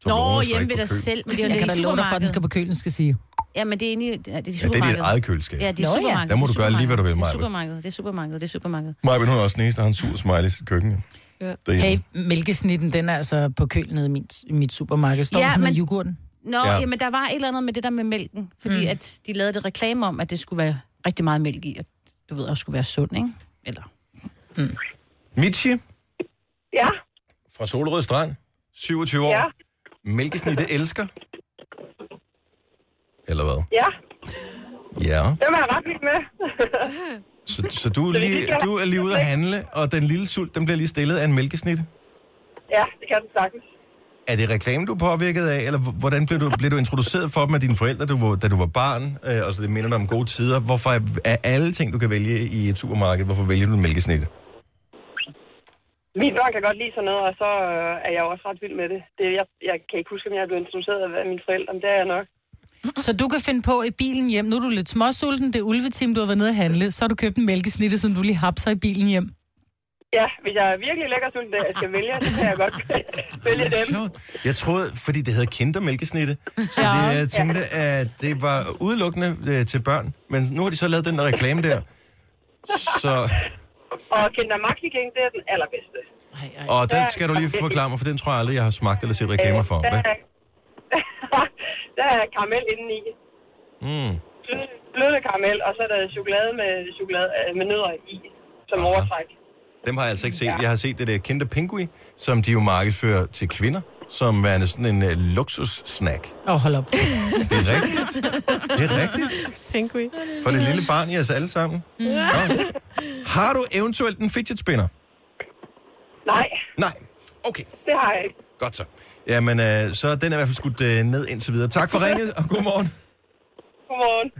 S1: Toblerone
S6: Nå,
S1: skal
S6: hjemme
S1: ikke
S6: ved
S1: på
S6: dig
S1: køl.
S6: selv, men det er
S4: Jeg
S6: jo
S4: kan
S6: det
S4: da
S6: i
S4: love dig for, at den skal
S6: supermarkedet.
S4: på kølen, skal sige.
S6: Ja, men det er inde i, ja, det er i
S1: Ja, det er dit
S6: supermarkedet.
S1: eget køleskab.
S6: Ja, det
S4: Nå,
S6: er
S4: ja.
S6: supermarkedet.
S1: Der må du gøre lige, hvad du vil,
S6: Det er
S1: Maja.
S6: supermarkedet, det er supermarkedet, det er supermarkedet.
S1: Maja, hun er også den eneste, der har en sur smiley i sit køkken.
S3: Ja.
S1: Derhjemme.
S4: Hey, mælkesnitten, den er altså på kølen nede i mit, i mit supermarked. Står
S6: Ja,
S4: ja, sådan men...
S6: men-
S4: yoghurten?
S6: Nå,
S1: Ja.
S6: ja. jamen der var et eller andet med det der med mælken, fordi mm. at de lavede det reklame om, at det skulle være rigtig meget mælk i, og du ved, også skulle være sund, ikke? Eller...
S1: Michi
S11: Ja,
S1: fra Solrød Strand, 27 år.
S11: Ja.
S1: Mælkesnitte elsker. Eller hvad?
S11: ja.
S1: Ja.
S11: Det var jeg ret vild med.
S1: Så, så du, er
S11: vi
S1: lige,
S11: skal-
S1: du er lige ude at handle, og den lille sult, den bliver lige stillet af en mælkesnitte.
S11: ja, det kan den sagtens.
S1: Er det reklame, du er påvirket af, eller h- hvordan blev du, blev du introduceret for dem af dine forældre, du, var- da du var barn? Øh, og så det minder dig om gode tider. Hvorfor er, er alle ting, du kan vælge i et supermarked, hvorfor vælger du en mælkesnitte?
S11: Mine børn kan godt lide sådan noget, og så øh, er jeg jo også ret vild med det. det jeg, jeg kan ikke huske, om jeg er blevet introduceret af mine forældre, men det er jeg nok.
S4: Så du kan finde på i bilen hjem, nu er du lidt småsulten, det er ulvetim, du har været nede at handle, så har du købt en mælkesnitte, som du lige hapser i bilen hjem.
S11: Ja, hvis jeg er virkelig lækker sulten, da jeg skal vælge, så kan jeg godt vælge dem.
S1: Jeg troede, fordi det hedder kindermælkesnitte, så det, jeg tænkte, at det var udelukkende øh, til børn. Men nu har de så lavet den der reklame der. Så,
S11: Og Kinder Maxi King, det er den allerbedste.
S1: og den skal du lige forklare mig, for den tror jeg aldrig, jeg har smagt eller set reklamer for.
S11: Øh, Der
S1: Hvad?
S11: er, der er karamel indeni.
S1: Mm.
S11: Blød- Bløde karamel, og så er der chokolade med, chokolade, øh, med nødder i som
S1: Aha.
S11: overtræk.
S1: Dem har jeg altså ikke set. Jeg har set det der Kinder Pingui, som de jo markedsfører til kvinder, som er sådan en uh, luksussnack.
S4: Åh, oh, hold op.
S1: Det er rigtigt. Det er rigtigt.
S3: Penguin.
S1: For det lille barn i os alle sammen.
S3: Mm.
S1: Nå. Har du eventuelt en fidget spinner?
S11: Nej,
S1: Nej. Okay,
S11: det har jeg ikke.
S1: godt så. Jamen, øh, så er den er i hvert fald skudt øh, ned indtil videre. Tak for ringet, og godmorgen.
S11: Godmorgen.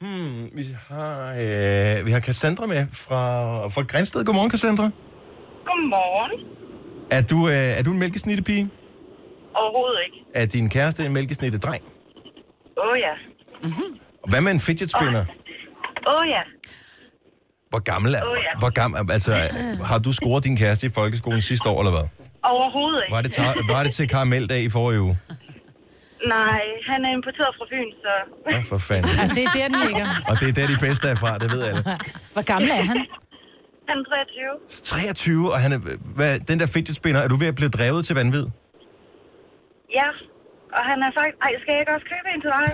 S1: Hmm, vi, har, øh, vi har Cassandra med fra, fra Grænsted. Godmorgen, Cassandra.
S11: Godmorgen.
S1: Er du, øh, er du en mælkesnittepige?
S11: Overhovedet ikke.
S1: Er din kæreste en mælkesnittedreng?
S11: Åh oh, ja.
S4: Mhm.
S1: Hvad med en fidget spinner?
S11: Åh oh, ja.
S1: Hvor gammel er
S11: Åh, ja.
S1: Hvor gammel, altså, har du scoret din kæreste i folkeskolen sidste år, eller hvad?
S11: Overhovedet
S1: Var det, tar, var det til karameldag i forrige uge?
S11: Nej, han er importeret fra Fyn, så...
S1: Nå, for fanden.
S4: Altså, det er der, den ligger.
S1: Og det er der, de bedste er fra, det ved alle.
S4: Hvor gammel er han?
S11: Han er 23.
S1: 23, og han er, hvad, den der fidget spinner, er du ved at blive drevet til vanvid?
S11: Ja. Og han er faktisk... Ej, skal jeg ikke også købe en til dig?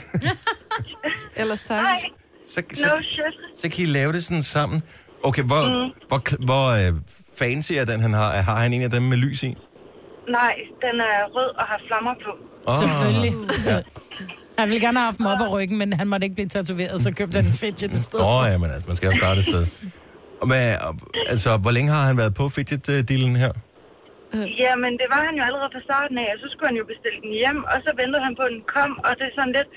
S3: Ellers tak.
S11: Nej,
S1: Så,
S11: no
S1: så,
S11: shit.
S1: så kan I lave det sådan sammen. Okay, hvor, hvor, kl- hvor øh, fancy er den, han har? Har han en af dem med lys i?
S11: Nej, den er rød og har flammer på.
S1: Oh,
S4: Selvfølgelig.
S1: Ja.
S4: Han ville gerne have haft dem op af ryggen, men han måtte ikke blive tatoveret, så købte han en fidget i stedet.
S1: Åh, oh, ja, men altså, man skal jo starte et sted. Og Hvad, og- altså, hvor længe har han været på fidget-dealen her?
S4: Øh.
S11: Jamen, det var han jo allerede fra starten af, og så skulle han jo bestille den hjem, og så ventede han på, at den kom, og det er sådan lidt...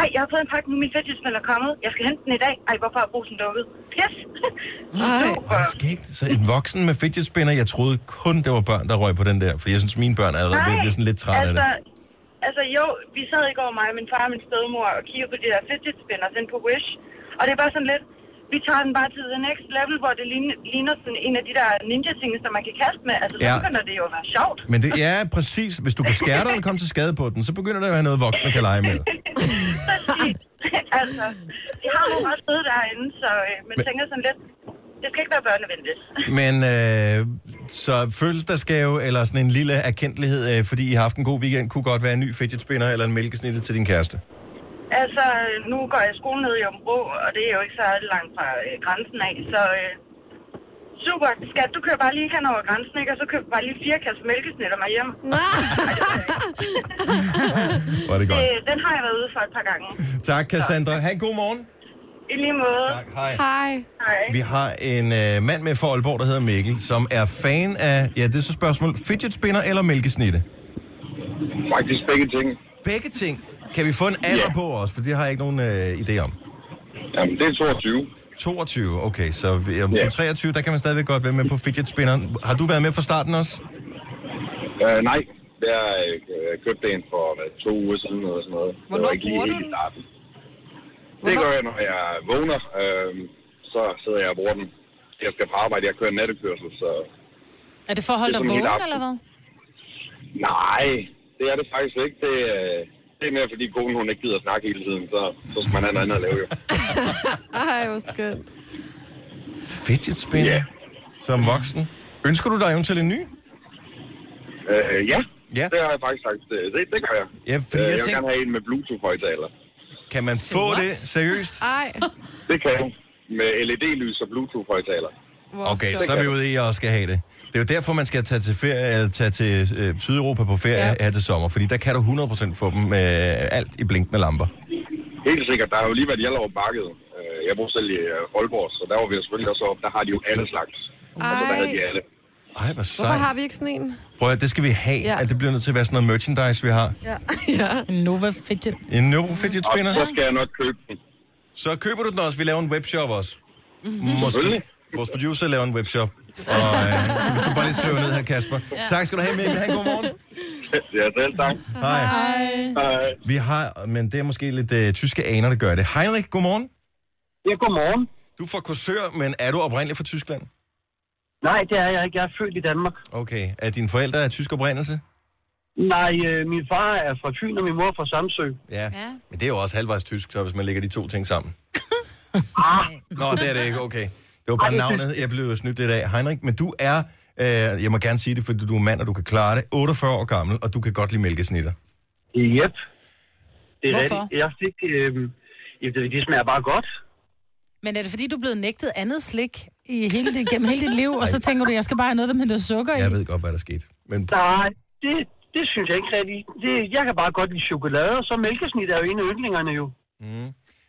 S11: Ej, jeg har fået en pakke nu, min fætjesmænd er kommet. Jeg skal hente den i dag. Ej, hvorfor har brusen lukket? Yes!
S3: Ej.
S1: Ej, skægt. Så en voksen med fidget spinner, jeg troede kun, det var børn, der røg på den der. For jeg synes, mine børn er allerede blevet- blevet sådan lidt trætte af
S11: altså,
S1: det.
S11: altså jo, vi sad i går, mig og min far og min stedmor, og kiggede på de der fidget spinners inde på Wish. Og det er bare sådan lidt, vi tager den bare til the next level, hvor det ligner, ligner sådan en af de der ninja-ting, som man kan kaste med. Altså, så
S1: Ja.
S11: begynder det jo at være sjovt.
S1: Men det er ja, præcis, hvis du kan skære dig eller komme til skade på den, så begynder det at være noget, voksne kan lege med.
S11: altså, de har jo også siddet derinde, så øh, man
S1: Men-
S11: tænker sådan lidt, det skal ikke være børnevenligt.
S1: Men øh, så fødselsdagsgave eller sådan en lille erkendelighed, øh, fordi I har haft en god weekend, kunne godt være en ny fidget spinner eller en mælkesnitte til din kæreste.
S11: Altså, nu går jeg i skole nede i Ombro, og det er jo ikke så langt fra øh, grænsen af, så... Øh, super, skat, du kører bare lige hen over grænsen, ikke? Og så køber du bare lige fire kasser mælkesnitter mig hjem.
S1: Var det
S11: Det,
S1: godt.
S11: Øh, den har jeg været ude for et par gange.
S1: Tak, Cassandra. Ha' en god morgen.
S11: I lige måde.
S1: Tak, hej.
S3: Hej.
S11: Hej.
S1: Vi har en øh, mand med fra Aalborg, der hedder Mikkel, som er fan af, ja, det er så spørgsmål, fidget spinner eller mælkesnitte?
S9: Faktisk begge ting.
S1: Begge ting. Kan vi få en alder på os? For det har jeg ikke nogen øh, idé om.
S9: Jamen, det er 22.
S1: 22, okay. Så vi- om
S9: Ja.
S1: yeah. 23, der kan man stadigvæk godt være med på fidget spinneren. Har du været med fra starten også?
S9: Øh, nej, jeg øh, købte en for hvad, to uger siden eller sådan noget.
S3: Hvornår
S9: var ikke lige
S3: bruger du
S9: helt
S3: den?
S9: i starten. Det gør jeg, når jeg vågner. Øh, så sidder jeg og bruger den. Jeg skal på arbejde, jeg kører nattekørsel, så...
S4: Er det for at holde
S9: Det er
S4: dig
S9: sådan helt
S4: vågen,
S9: aften.
S4: eller hvad?
S9: Nej, det er det faktisk ikke. Det, øh, det er mere, fordi konen hun ikke gider snakke hele tiden, så, så skal man have noget andet at lave jo.
S3: Ej, hvor skønt.
S1: Fidget spinner? Ja. Som voksen? Ønsker du dig eventuelt en ny?
S9: Øh, ja.
S1: ja,
S9: det har jeg faktisk sagt. øh, Det, det gør jeg. Øh,
S1: Ja, fordi jeg
S9: jeg vil
S1: tænker-
S9: gerne have en med Bluetooth-højtaler.
S1: Kan man få
S9: What?
S1: det? Seriøst?
S3: Ej.
S9: Det kan jeg. Med LED-lys og Bluetooth-højtaler.
S1: Okay, så er vi ude i, at jeg også skal have det. Det er jo derfor, man skal tage til, ferie, eller tage til øh, Sydeuropa på ferie ja. her til sommer, fordi der kan du 100% få dem øh, alt i blinkende lamper.
S9: Helt sikkert. Der har jo lige været Hjallerup Marked. Øh, Jeg bor selv i øh, Aalborg, så der var vi jo selvfølgelig også op. Der har de jo alle slags. Altså, der havde
S3: Ej.
S9: de alle.
S1: Ej, hvor
S3: Hvorfor
S1: sejt.
S3: har vi ikke sådan en?
S1: Prøv at, høre, det skal vi have.
S3: Ja.
S1: Ja. At det bliver nødt til at være sådan noget merchandise, vi har.
S3: Ja. ja.
S4: Nova Fidget.
S1: En neurofidget spinner.
S9: Og så skal jeg nok købe den. Mhm.
S1: Så køber du den også. Vi laver en webshop også.
S9: Selvfølgelig.
S1: Måske. Vores producer laver en webshop. Og øh, så hvis du bare lige skriver ned her, Kasper. Ja. Tak skal du have, Mikkel. Ha' en god morgen.
S9: Ja, selv tak.
S1: Hej.
S9: Hej.
S1: Vi har, men det er måske lidt øh, tyske aner, der gør det. Heinrich, godmorgen.
S12: Ja, godmorgen.
S1: Du er fra Korsør, men er du oprindelig fra Tyskland?
S12: Nej, det er jeg ikke. Jeg er født i Danmark.
S1: Okay. Er dine forældre af tysk oprindelse?
S12: Nej, øh, min far er fra Fyn, og min mor er fra Samsø.
S1: Ja. ja. Men det er jo også halvvejs tysk, så hvis man lægger de to ting sammen. Nå, det er det ikke. Okay. Det var bare
S12: Ah. Ej, det-
S1: navnet, jeg blev snydt lidt af. Heinrich, men du er, øh, jeg må gerne sige det, fordi du er mand, og du kan klare det, 48 år gammel, og du kan godt lide mælkesnitter.
S12: Yep. Det er
S4: Hvorfor?
S12: rigtigt. Jeg fik... Øh, jamen, det- de smager bare godt.
S4: Men er det fordi, du er blevet nægtet andet slik i hele dit, gennem hele dit liv, og så tænker du, jeg skal bare have noget, der med noget sukker i?
S1: Jeg ved godt, hvad der skete. Men
S12: Nej, det, det synes jeg ikke rigtigt. Det, jeg kan bare godt lide chokolade, og så mælkesnit er jo en af yndlingerne jo.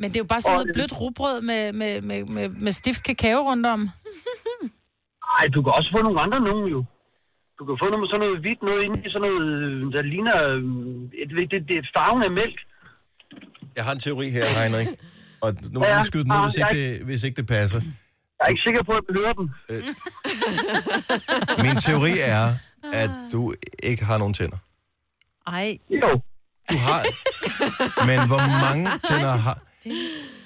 S4: Men det er jo bare sådan
S12: Og-
S4: noget blødt rugbrød med, med, med, med, med stift kakao rundt om.
S12: Nej, du kan også få nogle andre nogen jo. Du kan få noget med sådan noget hvidt noget inde i sådan noget, øh, der ligner... øh, et- Det, det, det er farven af mælk.
S1: Jeg har en teori her, Heinrich. Og nu må
S12: Ja,
S1: ja, skyde den ud,
S12: ja,
S1: hvis
S12: jeg-
S1: ikke, det, hvis ikke det passer.
S12: Jeg er ikke sikker på, at jeg hører den.
S1: Min teori er, at du ikke har nogen tænder.
S6: Ej.
S12: Jo.
S1: Du har... Men hvor mange tænder har...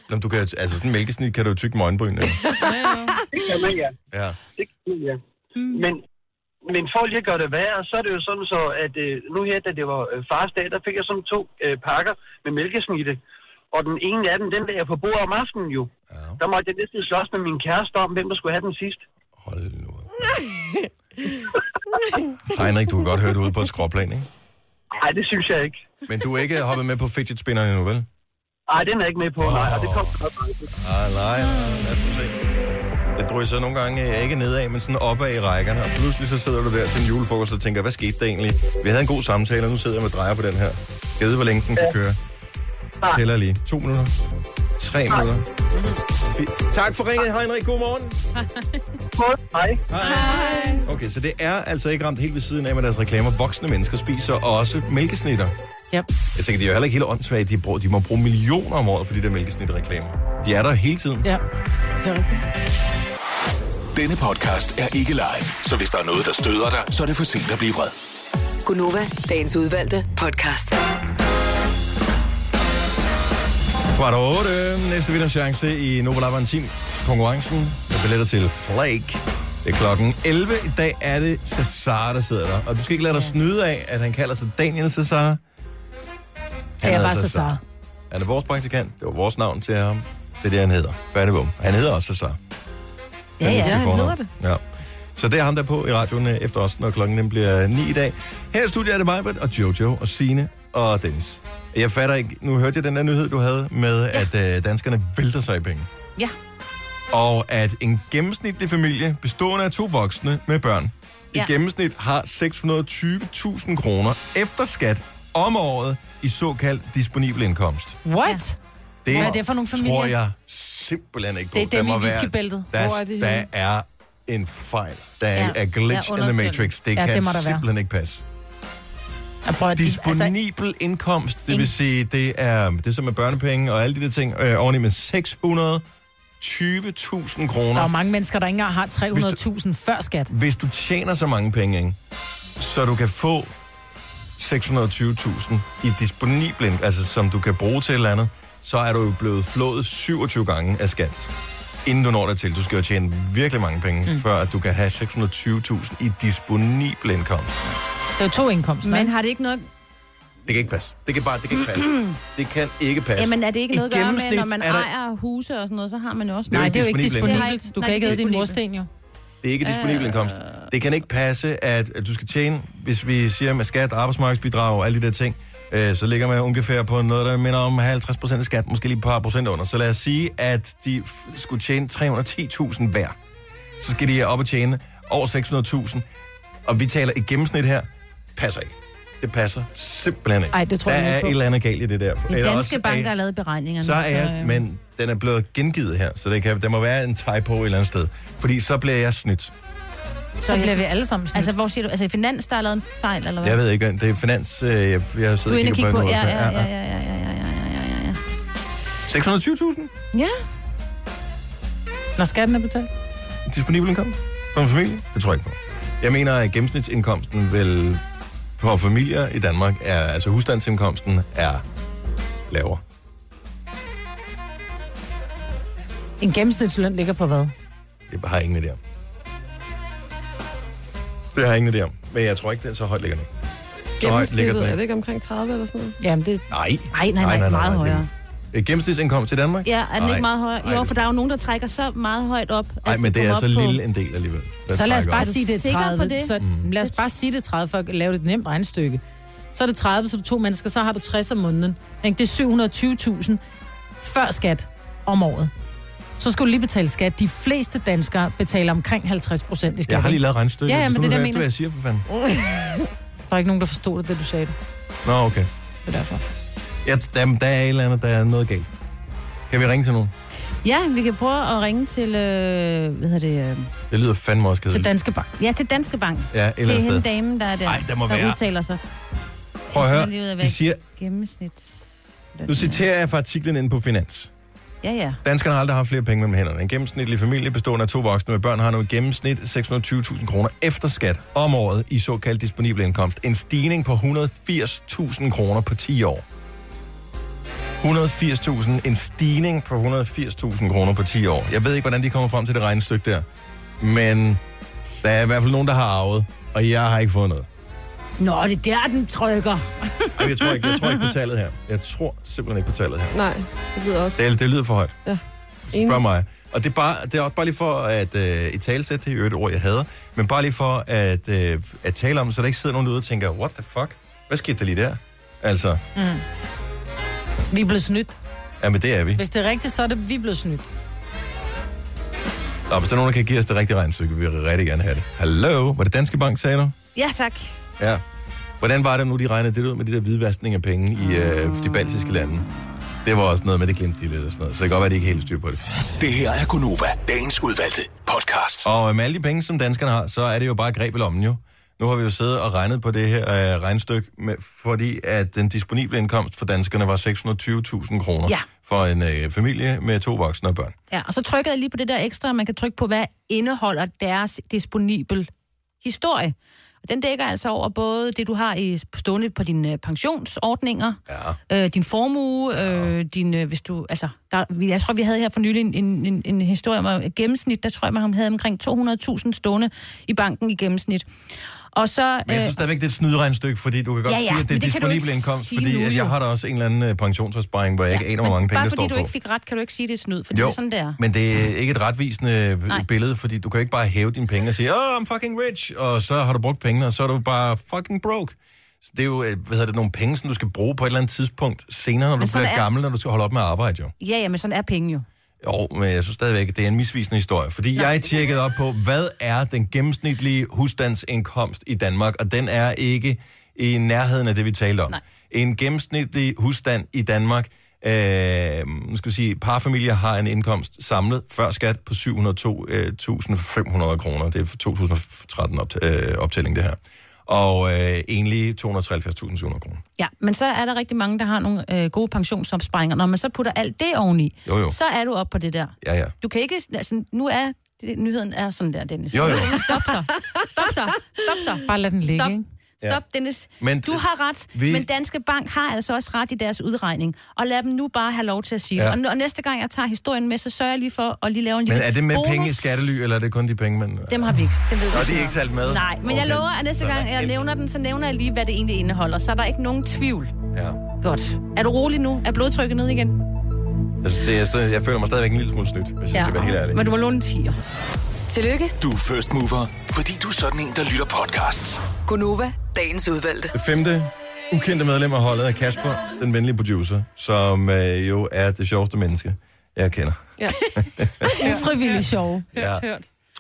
S1: Nå, men du kan, jo- altså sådan en mælkesnit kan du jo tykke med øjenbryn. ikke?
S12: Det kan man, ja.
S1: Ja.
S12: Det kan man, ja. Men, men for lige at gøre det værre, så er det jo sådan så, at øh, nu her, da det var øh, fars dag, der fik jeg sådan to øh, pakker med mælkesnitte. Og den ene af dem, den der jeg på bordet om aftenen jo. Ja. Der måtte jeg næsten slås med min kæreste om, hvem der skulle have den sidst.
S1: Heinrich, du kan godt høre det ude på et skråplan, ikke?
S12: Nej, det synes jeg ikke.
S1: Men du er ikke hoppet med på fidget spinneren endnu, vel?
S12: Nej, den er jeg ikke med på, nej. Og det kom nok
S1: Ah, nej, nej, lad os nu se. Det drysser nogle gange øh, ikke nedad, men sådan opad i rækkerne. Og pludselig så sidder du der til en julefrokost og tænker, hvad skete der egentlig? Vi havde en god samtale, og nu sidder jeg med drejer på den her. Jeg ved, hvor længe den kan køre. Jeg tæller lige. To minutter. Tre minutter.
S4: Mhm.
S1: Fi- Tak for ringet, Heinrich. God morgen.
S12: Hej.
S1: Hej. Okay, så det er altså ikke ramt helt ved siden af med deres reklamer. Voksne mennesker spiser også mælkesnitter.
S4: Yep.
S1: Jeg tænker, de er jo heller ikke helt åndssvage. De, bruger, de må bruge millioner om året på de der mælkesnitreklamer. De er der hele tiden.
S4: Ja, det er rigtigt.
S8: Denne podcast er ikke live, så hvis der er noget, der støder dig, så er det for sent at blive vred.
S7: Gunova, dagens udvalgte podcast.
S1: Kvart over otte. Næste vinders chance i Nova Lab en time. Konkurrencen med billetter til Flake. Det er klokken 11. I dag er det Cesar, der sidder der. Og du skal ikke lade dig snyde af, at han kalder sig Daniel Cesar. Han
S4: Ja, jeg
S1: hedder
S4: er bare Cesar.
S1: Han er vores praktikant. Det var vores navn til ham. Det er det, han hedder. Færdig bum. Han hedder også Cesar.
S4: Ja,
S1: til
S4: ja, han
S1: fornavn.
S4: hedder det.
S1: Ja. Så det er ham, der er på i radioen øh, efter os, når klokken den bliver 9 i dag. Her i studiet er det mig, Britt, og Jojo, og Sine og Dennis. Jeg fatter ikke, nu hørte jeg den der nyhed, du havde med, ja. at øh, danskerne vælter sig i penge.
S6: Ja.
S1: Og at en gennemsnitlig familie, bestående af to voksne med børn,
S6: Ja.
S1: ja. i gennemsnit har 620.000 kroner efter skat om året i såkaldt disponibel indkomst.
S4: What?
S1: Det,
S4: Hvad er det for nogle
S1: tror
S4: familier?
S1: jeg simpelthen ikke på.
S4: Det er
S1: Der
S4: dem
S1: må
S4: i
S1: være-
S4: whiskybæltet.
S1: Der,
S4: Hvor er
S1: er
S4: det
S1: der
S4: henne?
S1: er en fejl. Der er
S4: Ja.
S1: ja. a glitch
S4: Ja,
S1: in the
S4: undersøgende.
S1: matrix. Det
S4: Ja,
S1: kan
S4: det må der være.
S1: simpelthen ikke passe.
S4: Jeg prøver, at de-
S1: Disponibel altså, indkomst, det vil sige, det er det som er børnepenge og alle de der ting, øh, oveni med 620.000
S4: Der er jo
S1: kroner.
S4: mange mennesker, der ikke engang har 300.000 før skat.
S1: Hvis du tjener så mange penge, ikke? så du kan få 620.000 i disponibel, ind- altså som du kan bruge til et eller andet, så er du jo blevet flået 27 gange af skat, inden du når dig til. Du skal jo tjene virkelig mange penge, mm. før at du kan have 620.000 i disponibel indkomst.
S4: Det er jo to indkomster,
S2: Men
S4: ikke?
S2: har det ikke noget...
S1: Det kan ikke passe. Det kan bare, det kan ikke passe.
S4: Mm.
S1: Det kan ikke passe.
S6: Jamen er det ikke
S1: I
S6: noget at gøre med,
S1: gennemsnit
S6: når man
S1: er der-
S6: ejer huse og sådan noget, så har man jo også...
S1: Det er jo Nej, det er jo ikke disponibelt.
S6: Det har ikke-
S4: Du
S6: nej,
S4: kan ikke
S6: det er
S4: æde din
S6: disponibelt.
S4: mursten jo.
S1: Det er ikke disponibel indkomst. Det kan ikke passe, at, at du skal tjene, hvis vi siger med skat, arbejdsmarkedsbidrag og alle de der ting, øh, så ligger man ungefær på noget, der minder om 50% af skat, måske lige et par procent under. Så lad os sige, at de f- skulle tjene 310.000 hver. Så skal de op og tjene over 600.000, og vi taler i gennemsnit her, passer ikke. Det passer simpelthen ikke.
S6: Ej, det tror
S1: der
S6: jeg ikke
S1: er
S6: på.
S1: et eller andet galt i det der.
S6: Den
S1: Eller
S6: danske
S1: også
S6: bank,
S1: er-
S6: der har lavet beregningerne.
S1: så er jeg,
S6: øh,
S1: men den er blevet gengivet her, så det kan, der må være en typo et eller andet sted. Fordi så bliver jeg snydt.
S4: Så bliver vi alle sammen snydt.
S6: Altså, hvor siger du? Altså, i Finans, der er lavet en fejl, eller hvad?
S1: Jeg ved ikke, det er finans, øh, jeg, jeg
S6: Du er
S1: sidder
S6: inde
S1: og kigger
S6: og kigge
S1: på,
S6: på,
S1: nu.
S6: ja,
S1: også.
S6: ja, ja, ja, ja, ja, ja, ja, ja, ja.
S1: 620.000
S6: Ja,
S4: Når skatten er betalt.
S1: disponibel indkomst for en familie? Det tror jeg ikke på. Jeg mener, at gennemsnitsindkomsten vel for familier i Danmark, er, altså husstandsindkomsten, er lavere.
S4: En gennemsnitsløn ligger på hvad?
S1: Jeg har ingen idé om. Det har jeg ingen idé om. Men jeg tror ikke, den er så højt ligger nu. Så højt ligger
S3: Gennemsnittet,
S1: den
S3: er det
S1: ikke.
S3: ikke omkring 30 eller sådan noget?
S4: Jamen, det...
S1: Nej.
S6: Nej, nej, nej,
S1: det
S6: meget
S1: er-
S6: højere.
S1: Øh, Gennemsnitsindkomst i Danmark?
S6: ja er den ikke meget højere? Jo,
S1: Nej,
S6: for der er jo nogen, der trækker så meget højt op, at
S1: Nej, men det er
S6: kommer
S1: så
S6: op på-
S1: lille en del alligevel. der
S4: Så lad os
S1: trækker
S4: bare
S1: op.
S4: sige, det er
S6: sikker på
S4: 30.
S6: det?
S4: Så, Lad os bare sige, det er 30, for at lave det et nemt regnestykke. Så er det 30, så er det to mennesker, så har du 60 om måneden. Ikke? Det er 720.000 før skat om året. Så skulle du lige betale skat. De fleste danskere betaler omkring 50 procent i skat.
S1: Jeg har lige
S4: ikke?
S1: lavet regnstykket.
S4: Ja, ja, men det er det, jeg
S1: Hvad
S4: mener.
S1: jeg siger for fanden?
S4: Der er ikke nogen, der forstod det, det du sagde.
S1: Nå, okay.
S4: Det er derfor.
S1: Ja, der, der er et eller andet, der er noget galt. Kan vi ringe til nogen?
S6: Ja, vi kan prøve at ringe til, øh, hvad hedder det, øh,
S1: Det lyder fandme også kedeligt.
S4: Danske Bank.
S6: Ja, til Danske Bank.
S1: Ja, et eller
S6: til
S1: andet
S6: hende
S1: sted.
S6: dame, der er der,
S1: Ej, der må
S6: der
S1: være.
S6: udtaler sig.
S1: Prøv at
S6: Lige ud af
S1: høre.
S6: væk.
S1: De siger,
S6: Gennemsnit.
S1: nu citerer jeg fra artiklen inde på Finans.
S6: Ja, ja.
S1: Danskerne har aldrig haft flere penge mellem hænderne. En gennemsnitlig familie bestående af to voksne med børn har nu i gennemsnit 620.000 kroner efter skat om året i såkaldt disponibel indkomst. En stigning på 180.000 kroner på 10 år. 180.000, en stigning på 180.000 kroner på 10 år. Jeg ved ikke, hvordan de kommer frem til det regnestykke der, men der er i hvert fald nogen, der har arvet, og jeg har ikke fået noget.
S6: Nå, det er der, den trykker.
S1: Ej, Jeg tror ikke, jeg tror ikke på tallet her. Jeg tror simpelthen ikke på tallet her.
S3: Nej, det lyder også.
S1: Det, det lyder for højt.
S3: Ja.
S1: Spørg mig. Og det er, bare, det er også bare lige for at øh, i talsæt, det er jo et ord, jeg hader, men bare lige for at, øh, at tale om, så der ikke sidder nogen derude og tænker, what the fuck? Hvad skete der lige der? Altså,
S4: Mm. Vi er blevet snydt.
S1: ja, men det er vi.
S4: Hvis det er rigtigt, så er det, vi er blevet snydt.
S1: Og hvis der er nogen, der kan give os det rigtige regnstykke, vil vi rigtig gerne have det. Hallo, var det Danske Bank, sagde du?
S6: Ja, tak.
S1: Ja. Hvordan var det nu, de regnede det ud med de der hvidvaskning af penge i øh, de baltiske lande? Det var også noget med, det glemte de lidt og sådan noget. Så det kan godt være, at de ikke er helt styr på det.
S8: Det her er Gunova, dagens udvalgte podcast.
S1: Og med alle de penge, som danskerne har, så er det jo bare et greb i lommen jo. Nu har vi jo siddet og regnet på det her øh, regnstykke, med, fordi at den disponible indkomst for danskerne var 620.000 kroner
S6: Ja.
S1: for en øh, familie med to voksne og børn.
S6: Ja, og så trykker jeg lige på det der ekstra, man kan trykke på, hvad indeholder deres disponibel historie. Og den dækker altså over både det, du har i stående på dine øh, pensionsordninger, ja. øh, din formue, øh, din, øh, hvis du, altså, der, vi- jeg tror, vi havde her for nylig en, en, en, en historie om øh, gennemsnit, der tror jeg, man havde omkring 200.000 stående i banken i gennemsnit. Og så...
S1: Men jeg synes stadigvæk, det er et snyderegnstykke, fordi du kan godt
S6: Øh, Ja, ja,
S1: sige, at det er
S6: men det kan du
S1: disponible
S6: ikke
S1: indkomst,
S6: sige
S1: fordi
S6: nu,
S1: at jeg
S6: jo.
S1: har da også en eller anden øh, pensionsopsparing, hvor jeg ikke aner, hvor mange penge,
S6: bare
S1: der
S6: fordi
S1: står
S6: du
S1: på.
S6: ikke fik ret, kan du ikke sige, det er snyd, for det er sådan, det er.
S1: men det er ikke et retvisende
S6: Nej.
S1: Nej. billede, fordi du kan ikke bare hæve dine penge og sige, oh, I'm fucking rich, og så har du brugt pengene, og så er du bare fucking broke. Så det er jo, øh, hvad hedder det, nogle penge, som du skal bruge på et eller andet tidspunkt senere, når
S6: Men
S1: du
S6: sådan
S1: bliver
S6: er-
S1: gammel, når du skal holde op med at arbejde, jo.
S6: Ja, ja, men sådan er penge jo.
S1: Jo, men jeg synes stadigvæk, at det er en misvisende historie, fordi Nej. jeg tjekkede op på, hvad er den gennemsnitlige husstandsindkomst i Danmark, og den er ikke i nærheden af det, vi talte om. Nej. En gennemsnitlig husstand i Danmark, øh, nu skal vi sige, parfamilier har en indkomst samlet før skat på 702.500 øh, kroner. Det er for 2013 opt- øh, optælling, det her. Og øh, egentlig 273.700 kroner.
S6: Ja, men så er der rigtig mange, der har nogle øh, gode pensionsopsparinger. Når man så putter alt det oveni,
S1: Jo, jo.
S6: så er du op på det der.
S1: Ja, ja.
S6: Du kan ikke... Altså, nu er... Det, nyheden er sådan der, Dennis.
S1: Jo, jo.
S6: Stop så. Stop så. Stop så.
S4: Bare lad den ligge,
S6: Stop.
S4: ikke?
S6: Stop, ja. Dennis.
S1: Men-
S6: Men, du har ret,
S1: Vi-
S6: vi... men Danske Bank har altså også ret i deres udregning. Og lad dem nu bare have lov til at sige
S1: Ja.
S6: ja. og, nu- og næste gang jeg tager historien med, så sørger jeg lige for at lige lave en
S1: Men
S6: lille
S1: er det med
S6: bonus.
S1: penge i skattely, eller er det kun de penge, man...
S6: Dem har vi ikke. Dem ved
S1: Nå,
S6: vi
S1: de er ikke talt med.
S6: Nej, men okay. jeg
S1: Okay.
S6: lover, at næste
S1: Så
S6: gang jeg nævner den, så nævner jeg lige, hvad det egentlig indeholder. Så er der ikke nogen tvivl.
S1: Ja.
S6: Godt. Er du rolig nu? Er blodtrykket ned igen?
S1: Altså, det er, så, jeg føler mig stadigvæk en lille smule snydt, hvis jeg skal være helt ærlig.
S6: Men du må låne en 10'er.
S7: Tillykke,
S8: Du er first mover, fordi du er sådan en, der lytter podcasts.
S7: Gunova, dagens udvalgte.
S1: Det femte ukendte medlem af holdet er Kasper, den venlige producer, som øh, jo er det sjoveste menneske, jeg kender.
S3: Ja.
S4: Ufrivillig sjov.
S1: Ja.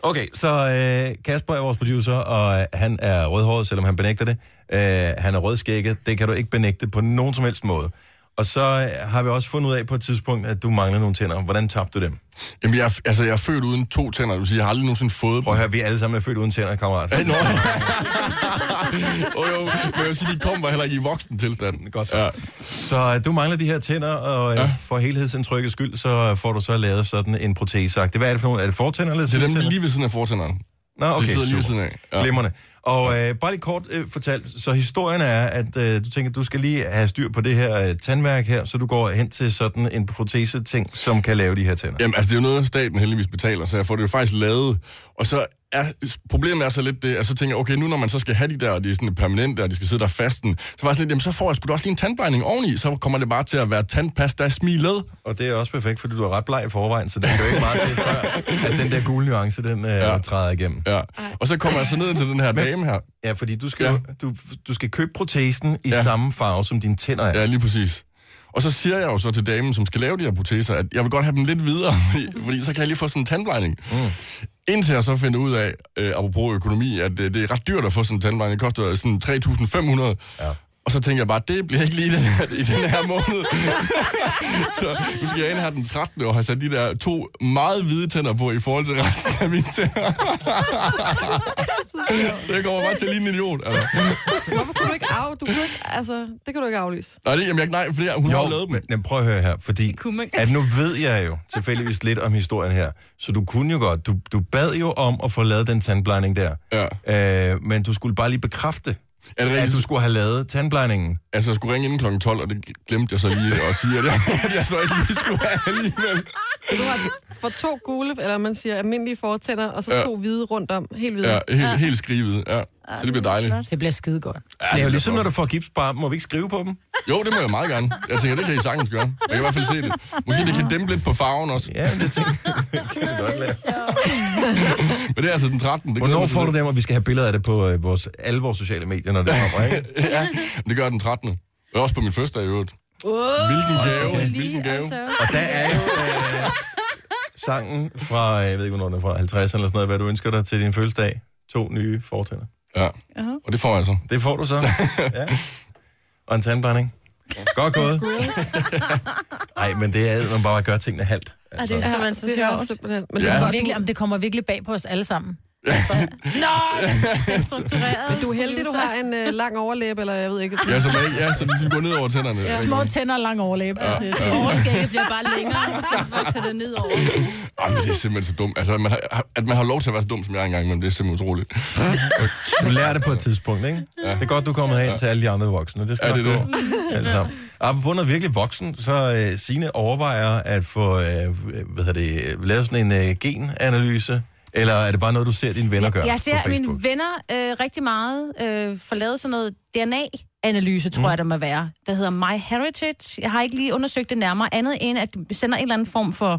S1: Okay, så øh, Kasper er vores producer, og øh, han er rødhåret, selvom han benægter det. Øh, han er rødskægget, det kan du ikke benægte på nogen som helst måde. Og så øh, har vi også fundet ud af på et tidspunkt, at du mangler nogle tænder. Hvordan tabte du dem?
S13: Jamen, jeg, er f- altså, jeg er født uden to tænder. Det vil sige, jeg har aldrig nogensinde fået dem.
S1: Prøv at høre, vi alle sammen er født uden tænder, kammerat.
S13: Nå. oh, jo, men jeg vil sige, de kommer heller ikke i voksen tilstand.
S1: Godt så. Ja. Så øh, du mangler de her tænder, og ja. for helhedsindtrykkets skyld, så øh, får du så lavet sådan en proteseagtig. Hvad er det for nogle? Er det fortænder eller
S13: Det er dem
S1: sidetænder?
S13: lige ved siden af fortænderen.
S1: Nå,
S13: De
S1: okay,
S13: sidder
S1: super.
S13: lige ved siden af.
S1: Ja. Glimrende. Og øh, bare lige kort øh, fortalt, så historien er, at øh, du tænker, du skal lige have styr på det her øh, tandværk her, så du går hen til sådan en protese-ting, som kan lave de her tænder.
S13: Jamen, altså, det er jo noget, staten heldigvis betaler, så jeg får det jo faktisk lavet. Og så er, problemet er så lidt det, at så tænker jeg, okay, nu når man så skal have de der, og de er sådan permanente, og de skal sidde der fasten, så var jeg sådan lidt, jamen, så får jeg sgu da også lige en tandblejning oveni, så kommer det bare til at være tandpasta smilet.
S1: Og det er også perfekt, fordi du er ret bleg i forvejen, så det er jo ikke meget til, før, at den der gule nuance, den øh, ja. træder igennem.
S13: Ja. Og så kommer jeg så ned til den her dame her.
S1: Ja, fordi du skal, ja. du, du skal købe protesen i ja. samme farve, som dine tænder er.
S13: Ja, lige præcis. Og så siger jeg jo så til damen, som skal lave de her proteser, at jeg vil godt have dem lidt videre, fordi, fordi så kan jeg lige få sådan en tandblejning. Mm. Indtil jeg så finder ud af, øh, apropos økonomi, at øh, det er ret dyrt at få sådan en tandblejning. Det koster sådan 3.500. Ja. Og så tænker jeg bare, det bliver ikke lige i den her, i den her måned. så nu skal jeg ind her den 13. og have sat de der to meget hvide tænder på i forhold til resten af mine tænder. så jeg kommer bare til at ligne en idiot. Altså.
S3: Hvorfor kunne du ikke af? Du kunne ikke, altså, det kan du ikke aflyse.
S13: Nej, det, jamen, jeg, nej, for det, hun
S1: jo,
S13: har jo lavet dem.
S1: men, men prøv at høre her, fordi
S3: kunne man.
S1: at nu ved jeg jo tilfældigvis lidt om historien her, så du kunne jo godt, du, du bad jo om at få lavet den tandblejning der, ja. øh, men du skulle bare lige bekræfte,
S13: Er det rigtigt?
S1: at du skulle have lavet tandblejningen.
S13: Altså, jeg skulle ringe inden klokken 12, og det glemte jeg så lige at sige, at jeg, at jeg så ikke lige skulle have alligevel.
S3: Du har for to gule, eller man siger almindelige fortænder, og så
S13: Ja.
S3: to hvide rundt om. Helt hvide.
S13: Ja, helt, helt skrivet, ja. Så det bliver dejligt.
S4: Det bliver skide godt.
S13: Ja,
S1: det er jo
S13: bliver
S1: ligesom,
S13: godt.
S1: når du får gips på armen, må vi ikke skrive på dem?
S13: Jo, det må jeg meget gerne. Jeg tænker, det kan I sagtens gøre. Jeg kan i hvert fald se det. Måske det kan dæmpe lidt på farven også.
S1: Ja, det tænker jeg. kan vi godt lade.
S13: Men det er altså den 13. Det
S1: Hvornår
S13: glæder
S1: får
S13: jeg
S1: du
S13: mig
S1: dem, og vi skal have billeder af det på øh, vores, alle vores sociale medier, når det kommer, ikke?
S13: til. ja, det gør jeg den 13. Og også på min første i øvrigt. Hvilken gave, hvilken gave.
S4: altså.
S1: Og der er jo øh, sangen fra, øh, jeg ved ikke, hvornår den er fra, 50'erne eller sådan noget, hvad du ønsker dig til din fødselsdag. To nye fortænder.
S13: Ja, og det får jeg altså. så.
S1: Det får du så. ja. Og en tandbrænding. Godt gået. Nej, men det er, at man bare gør tingene halvt.
S4: Er det er
S3: simpelthen så
S4: Altså, det er
S3: sjovt.
S4: simpelthen- Men
S1: Ja.
S4: det, kommer virkelig, om det kommer virkelig bag på os alle sammen.
S6: Nå!
S3: Men du er heldig, du har en øh, lang overlæbe, eller jeg ved ikke.
S13: Ja, så, man ikke, ja, så det sådan går ned over tænderne.
S4: Ja. Små tænder og lang overlæbe.
S13: Ja,
S4: Ja. Det er sådan.
S13: ja.
S6: Overskægget bliver bare længere. Vokser det ned over.
S13: Jamen, det er simpelthen så dumt. Altså, at man har, at man har lov til at være så dum, som jeg er engang imellem, det er simpelthen utroligt.
S1: Du lærer det på et tidspunkt, ikke? Ja. Det er godt, du kommer herind til alle de andre voksne. Det skal
S13: Ja,
S1: ja,
S13: det
S1: det
S13: er
S1: nok gå. Alle sammen. Apropos noget virkelig voksen, så øh, Signe overvejer at få øh, hvad hedder det, øh, lavet sådan en øh, genanalyse, eller er det bare noget, du ser dine venner gøre
S6: Jeg ser
S1: på Facebook?
S6: mine venner øh, rigtig meget øh, få lavet sådan noget DNA-analyse,
S1: Mhm.
S6: tror mm. jeg, der må være. Der hedder My Heritage. Jeg har ikke lige undersøgt det nærmere. Andet end, at de sender en eller anden form for...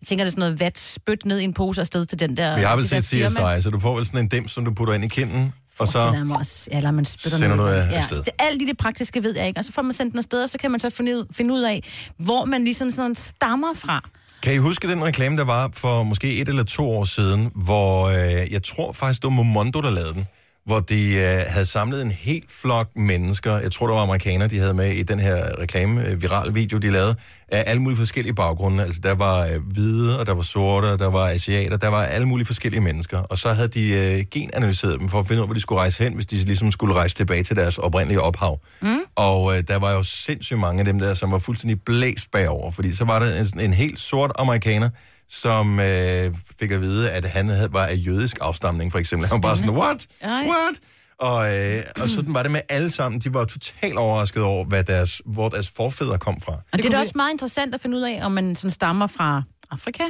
S6: Jeg tænker, det er sådan noget vat spyt ned i en pose afsted til den der...
S1: Vi har vel
S6: det der
S1: set CSI,
S6: firma.
S1: så du får vel sådan en dem, som du putter ind i kinden, og
S6: Det lader
S1: så...
S6: mig også- Ja, eller man spytter
S1: Sender
S6: ned.
S1: du af-
S6: ja.
S1: afsted.
S6: det, Alt det, det praktiske ved jeg ikke. Og så får man sendt den afsted, og så kan man så finde ud, finde ud af, hvor man ligesom sådan stammer fra.
S1: Kan I huske den reklame, der var for måske et eller to år siden, hvor øh, jeg tror faktisk, det var Momondo, der lavede den, hvor de øh, havde samlet en hel flok mennesker, jeg tror, det var amerikanere, de havde med i den her reklame, øh, viral video, de lavede, af alle mulige forskellige baggrunde. Altså, der var øh, hvide, og der var sorte, og der var asiater, der var alle mulige forskellige mennesker. Og så havde de øh, genanalyseret dem for at finde ud af, hvor de skulle rejse hen, hvis de ligesom skulle rejse tilbage til deres oprindelige ophav. Mm. Og øh, der var jo sindssygt mange af dem der, som var fuldstændig blæst bagover, fordi så var der en, en helt sort amerikaner, som øh, fik at vide, at han havde, var af jødisk afstamning, for eksempel. Han var bare sådan, what?
S6: Ej.
S1: What? Og, øh, og sådan var det med alle sammen. De var totalt overrasket over, hvad deres, hvor deres forfædre kom fra.
S6: Og det, det er da også meget interessant at finde ud af, om man sådan stammer fra Afrika.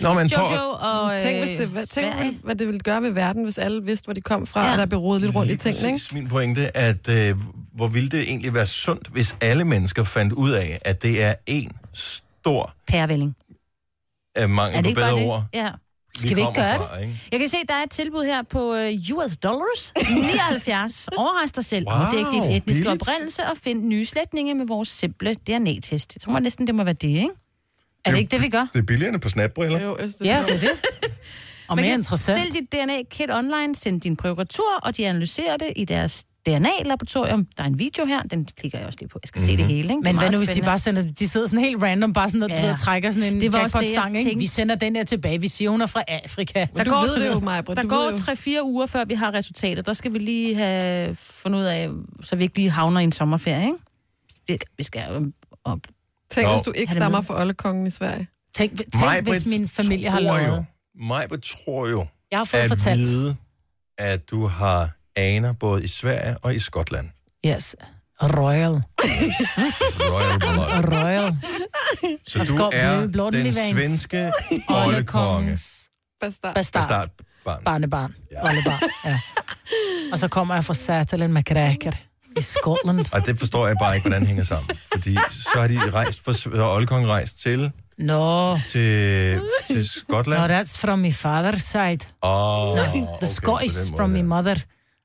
S1: Nå, men for-
S6: Jojo og... Øh,
S3: Tænk, hvis det, hvad, tænk hvad, hvad det ville gøre ved verden, hvis alle vidste, hvor de kom fra, ja. og der blev rodet lidt rundt i tingene. Ikke?
S1: præcis min pointe, at øh, hvor ville det egentlig være sundt, hvis alle mennesker fandt ud af, at det er en stor
S6: Pærevælling.
S1: øh, mangel på bedre ord.
S6: Ja.
S1: vi
S6: Skal vi ikke
S1: kommer
S6: gøre
S1: fra,
S6: det?
S1: ikke?
S6: Jeg kan se, der er et tilbud her på øh, US dollars. 79. Overrask dig selv.
S1: Wow,
S6: Wow, det er dit
S1: billigt.
S6: etniske billigt. oprindelse og find nye slægtninge med vores simple DNA-test. Jeg tror man næsten, det må være det, ikke? Er det ikke det, vi gør?
S1: Det er billigere end på snapbriller.
S3: Jo, jeg
S6: Ja, det er det.
S4: Og
S6: Man
S4: mere
S6: kan
S4: interessant.
S6: Stil dit DNA-kit online, send din prøve retur, og de analyserer det i deres DNA-laboratorium. Der er en video her, den klikker jeg også lige på. Jeg skal mm-hmm. se det hele, ikke?
S4: Mhm. Men hvad nu, hvis de bare sender... De sidder sådan helt random, bare sådan, at ja.
S6: Ja.
S4: ved, trækker sådan en
S6: Det var også det, jeg
S4: jackpot-stang, ikke?
S6: tænkte.
S4: Vi sender den her tilbage. Vi siger, hun er fra Afrika.
S6: Der går, Der går 3-4 uger, før vi har resultater. Der skal vi lige have fundet ud af, så vi ikke lige havner i en sommerferie, ikke? Vi- Vi skal jo op.
S3: Tænk,
S1: Nå.
S3: hvis du ikke
S1: Ha' det
S3: stammer
S1: med.
S3: fra oldekongen i Sverige.
S4: Tænk,
S1: Maj-Brit tror jo- Maj-Brit tror jo,
S4: Jeg har fået
S1: at
S4: fortalt.
S1: vide, at du har aner både i Sverige og i Skotland.
S4: Yes. Royal.
S1: Royal Blood.
S4: Royal.
S1: Så
S4: Og
S1: du
S4: går
S1: er
S4: bløde blotten
S1: den
S4: i vejen.
S1: svenske oldekonge.
S3: Bastard.
S4: Bastard.
S1: Bastard.
S4: Barnebarn. Ja. Oldebarn. Ja. Og så kommer jeg fra Sutherland med kræker i Skotland.
S1: Og det forstår jeg bare ikke, hvordan det hænger sammen. Fordi så har de rejst, for, så har Olkong rejst til,
S4: Nå.
S1: til, til
S4: No,
S1: Skotland.
S4: that's from my father's side.
S1: Åh,
S4: No,
S1: okay, på
S4: the
S1: den
S4: Scottish
S1: måde
S4: from
S1: der.
S4: my mother.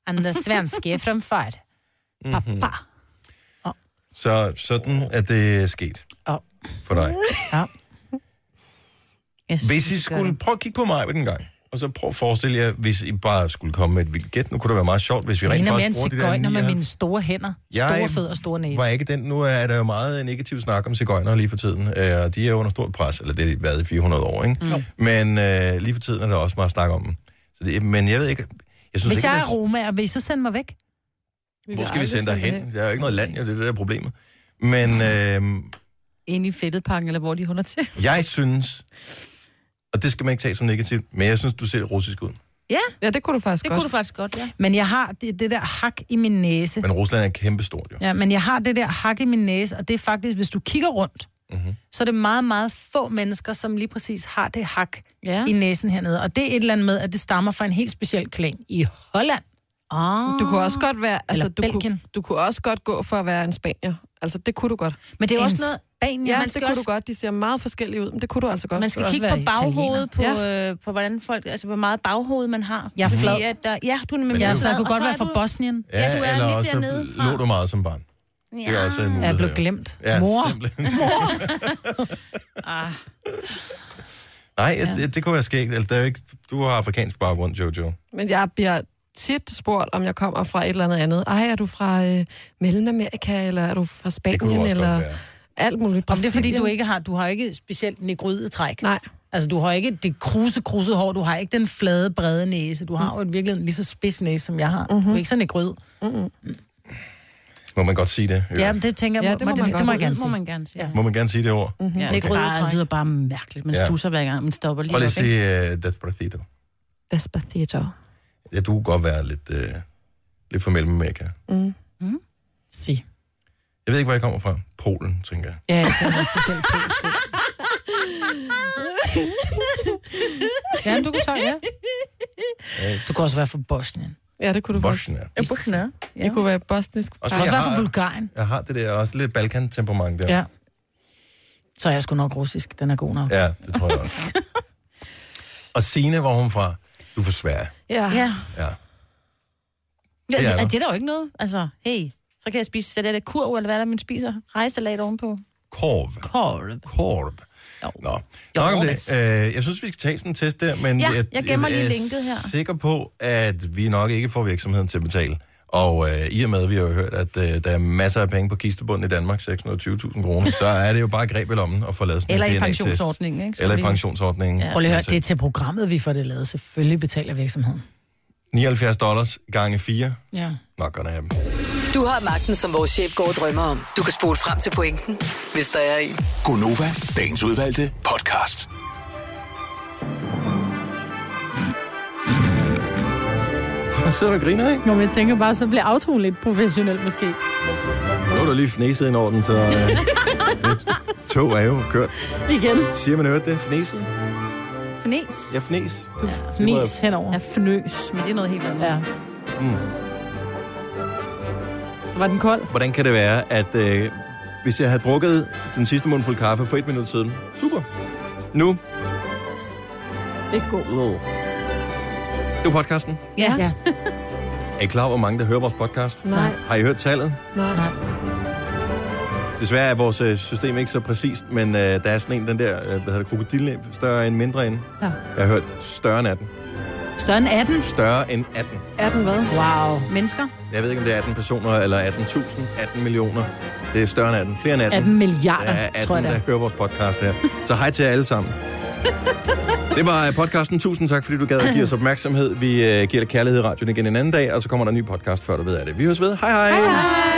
S4: And the svenske er from far.
S1: Mhm. Så sådan er det sket
S4: Åh.
S1: for dig.
S4: Ja.
S1: Hvis I skulle, prøv at kigge på mig en gang. Og så prøv at forestille jer, hvis I bare skulle komme med et vildt gæt. Nu kunne det være meget sjovt, hvis vi
S4: Jeg
S1: rent
S4: ligner mere en
S1: faktisk bruger de der
S4: cigøjner med
S1: 99
S4: mine store hænder.
S1: Jeg
S4: Store fødder og store næse.
S1: var ikke den. Nu er der jo meget negativ snak om cigøjner lige for tiden. Øh, og de er under stort pres, eller det har de været i 400 år, ikke?
S4: Mm. Jo.
S1: Men øh, lige for tiden er der også meget snak om dem. Så det, men jeg ved ikke... Jeg synes
S4: Hvis
S1: ikke,
S4: jeg er
S1: at
S4: romager, vil I så sende mig væk?
S1: der, hvor skal vi sende dig hen? Der er jo ikke noget land, jo, det er det der er problemet. Men
S4: Mm.
S1: øh,
S6: Ind i fedtetpakken, eller hvor de holder til.
S1: jeg synes, og det skal man ikke tage som negativt, men jeg synes, du ser russisk ud.
S6: Ja,
S3: ja det kunne du faktisk
S6: det
S3: godt.
S6: kunne du faktisk godt, ja.
S4: Men jeg har det, det der hak i min næse.
S1: Men Rusland er kæmpestort, jo.
S4: Ja, men jeg har det der hak i min næse, og det er faktisk, hvis du kigger rundt,
S1: Mhm.
S4: mm-hmm. så er det meget, meget få mennesker, som lige præcis har det hak
S6: Ja.
S4: i næsen hernede. Og det er et eller andet med, at det stammer fra en helt speciel klan i Holland.
S6: Ah.
S3: Du kunne også godt være, altså,
S4: Eller
S3: du, kunne, du kunne også godt gå for at være en spanier. Altså, det kunne du godt.
S6: Men det er jo
S3: en
S6: også noget-
S3: Spanier,
S6: Ja,
S3: ja,
S6: man
S3: det
S6: skal
S3: kunne
S6: også-
S3: du godt. De ser meget forskellige ud, men det kunne du altså godt.
S6: Man skal kigge på baghovedet, på, ja. øh, på hvordan folk, altså hvor meget baghoved man har.
S4: Jeg er
S6: Fordi
S4: flad.
S6: At, der, ja, du er
S1: Men
S6: nemlig
S1: det er jo-
S6: flad,
S1: Så jeg
S4: kunne
S6: og
S4: godt
S6: så
S4: være
S6: er
S4: fra
S6: du-
S4: Bosnien.
S6: Ja, du er
S1: eller
S6: lidt
S1: også
S6: dernede fra.
S1: lå du meget som barn. Ja. Det er også en mulighed,
S4: Jeg er blevet
S1: jo.
S4: glemt.
S1: Ja,
S4: Mor.
S1: simpelthen.
S6: Ah.
S1: Nej, ja. det, det kunne være skægt. Altså, der er jo ikke, du har afrikansk baggrund, Jojo.
S3: Men jeg bliver tit spurgt, om jeg kommer fra et eller andet andet. Ej, er du fra øh, Mellemamerika, eller er du fra Spanien,
S1: kunne du også godt
S3: eller
S1: være.
S3: alt muligt.
S4: Om det er fordi,
S3: Brasilien.
S4: du ikke har, du har ikke specielt negryde træk.
S3: Nej.
S4: Altså, du har ikke det kruse, kruse hår, du har ikke den flade, brede næse. Du har jo i virkeligheden lige så spids næse, som jeg har. Mm-hmm. Du
S3: Mhm.
S4: er ikke sådan negryd. Mm-hmm.
S1: Må man godt sige det?
S4: Ja, men det tænker jeg,
S6: Ja,
S4: ja,
S6: det må
S4: det,
S6: man
S4: det, det
S6: godt.
S4: må jeg gerne
S6: Det må
S4: sige.
S6: man gerne sige.
S1: Må man gerne sige det ord?
S4: Mhm.
S6: Ja,
S4: Det er
S6: det,
S4: ikke røde
S6: bare,
S4: træk.
S6: lyder bare mærkeligt. Man
S1: Ja.
S6: ja. stusser hver gang, man stopper lige
S1: Prøv lige at
S6: op,
S1: sige
S6: ikke?
S1: uh, Despacito.
S3: Despacito.
S1: Ja, du kunne godt være lidt, uh, lidt fra Mellemamerika.
S3: Mm.
S4: Mm. Si.
S1: Jeg ved ikke, hvor jeg kommer fra. Polen, tænker jeg.
S4: Ja, jeg tænker også specielt på. Ja, men du kunne sige, ja. Du kunne også være fra Bosnien.
S3: Ja, det kunne du
S1: Bosnien.
S3: Ja, Bosnien. Jeg kunne være bosnisk.
S1: Også
S4: Du kan også
S1: jeg
S4: være fra
S1: har-
S4: Bulgarien.
S1: Jeg har det der også lidt Balkan-temperament der.
S4: Ja. Så er jeg sgu nok russisk. Den er god nok.
S1: ja det tror jeg også. Og Signe, hvor er hun fra? Du er fra Sverige.
S3: Ja.
S6: ja.
S1: Ja. Det
S6: Ja,
S1: er
S6: det,
S1: der.
S6: er det er der jo ikke noget. Altså, hey, så kan jeg spise så det der kurv, eller hvad der man spiser. Rejsalat ovenpå.
S1: Korv.
S6: Korv.
S1: Korv. Nå,
S6: Jo,
S1: nok om det.
S6: Jonas.
S1: Øh, Jeg synes, vi skal tage sådan en test der, men
S6: Ja,
S1: jeg,
S6: jeg gemmer lige
S1: er
S6: linket her.
S1: sikker på, at vi nok ikke får virksomheden til at betale. Og øh, i og med, at vi har jo hørt, at øh, der er masser af penge på kistebunden i Danmark, 620.000 kroner, så er det jo bare greb i lommen at få lavet sådan
S6: Eller
S1: en
S6: i
S1: DNA-test.
S6: pensionsordningen, ikke? Så
S1: Eller i
S6: lige-
S1: pensionsordningen. Altså,
S4: Prøv lige at høre, det er til programmet, vi får det lavet. Selvfølgelig betaler virksomheden.
S1: 79 dollars gange 4.
S4: Ja.
S1: Nok godt at have dem.
S7: Du har magten, som vores chef går og drømmer om. Du kan spole frem til pointen, hvis der er en.
S8: Gonova, dagens udvalgte podcast.
S1: Hvad sidder du og griner, ikke?
S4: Nå, men jeg tænker bare, så bliver autoen lidt professionel måske.
S1: Nu er der lige fnæset ind over den, så øh, tog er jo kørt.
S4: Igen.
S1: Siger man hørt det? Fnæset?
S6: Fnæs.
S1: Ja, fnæs.
S4: Du
S1: fnæs
S4: fnæs henover.
S6: Ja, fnøs, men det er noget helt andet.
S4: Ja.
S1: Mm.
S4: Var den kold?
S1: Hvordan kan det være, at øh, hvis jeg havde drukket den sidste mundfuld kaffe for et minut siden, super. Nu,
S3: Ikke god.
S1: øh. det var podcasten.
S6: Ja. ja.
S1: Er I klar over, hvor mange, der hører vores podcast?
S3: Nej.
S1: Har I hørt tallet?
S3: Nej.
S1: Desværre er vores øh, system ikke så præcist, men øh, der er sådan en, den der, øh, hvad hedder det, krokodilnæb, større end mindre end.
S4: Ja.
S1: Jeg har hørt større end 18.
S4: Større end 18?
S1: Større end 18.
S3: 18 hvad?
S4: Wow.
S6: Mennesker?
S1: Jeg ved ikke, om det er 18 personer, eller 18.000, 18 millioner. Det er større end 18. Flere end 18.
S4: 18 milliarder,
S1: Der er 18,
S4: tror jeg
S1: der
S4: da.
S1: hører vores podcast her. Så hej til jer alle sammen. Det var øh, podcasten. Tusind tak, fordi du gad at give os opmærksomhed. Vi øh, giver dig kærlighed i radioen igen en anden dag, og så kommer der en ny podcast, før du ved af det. Vi høres ved. Hej hej. hej, hej.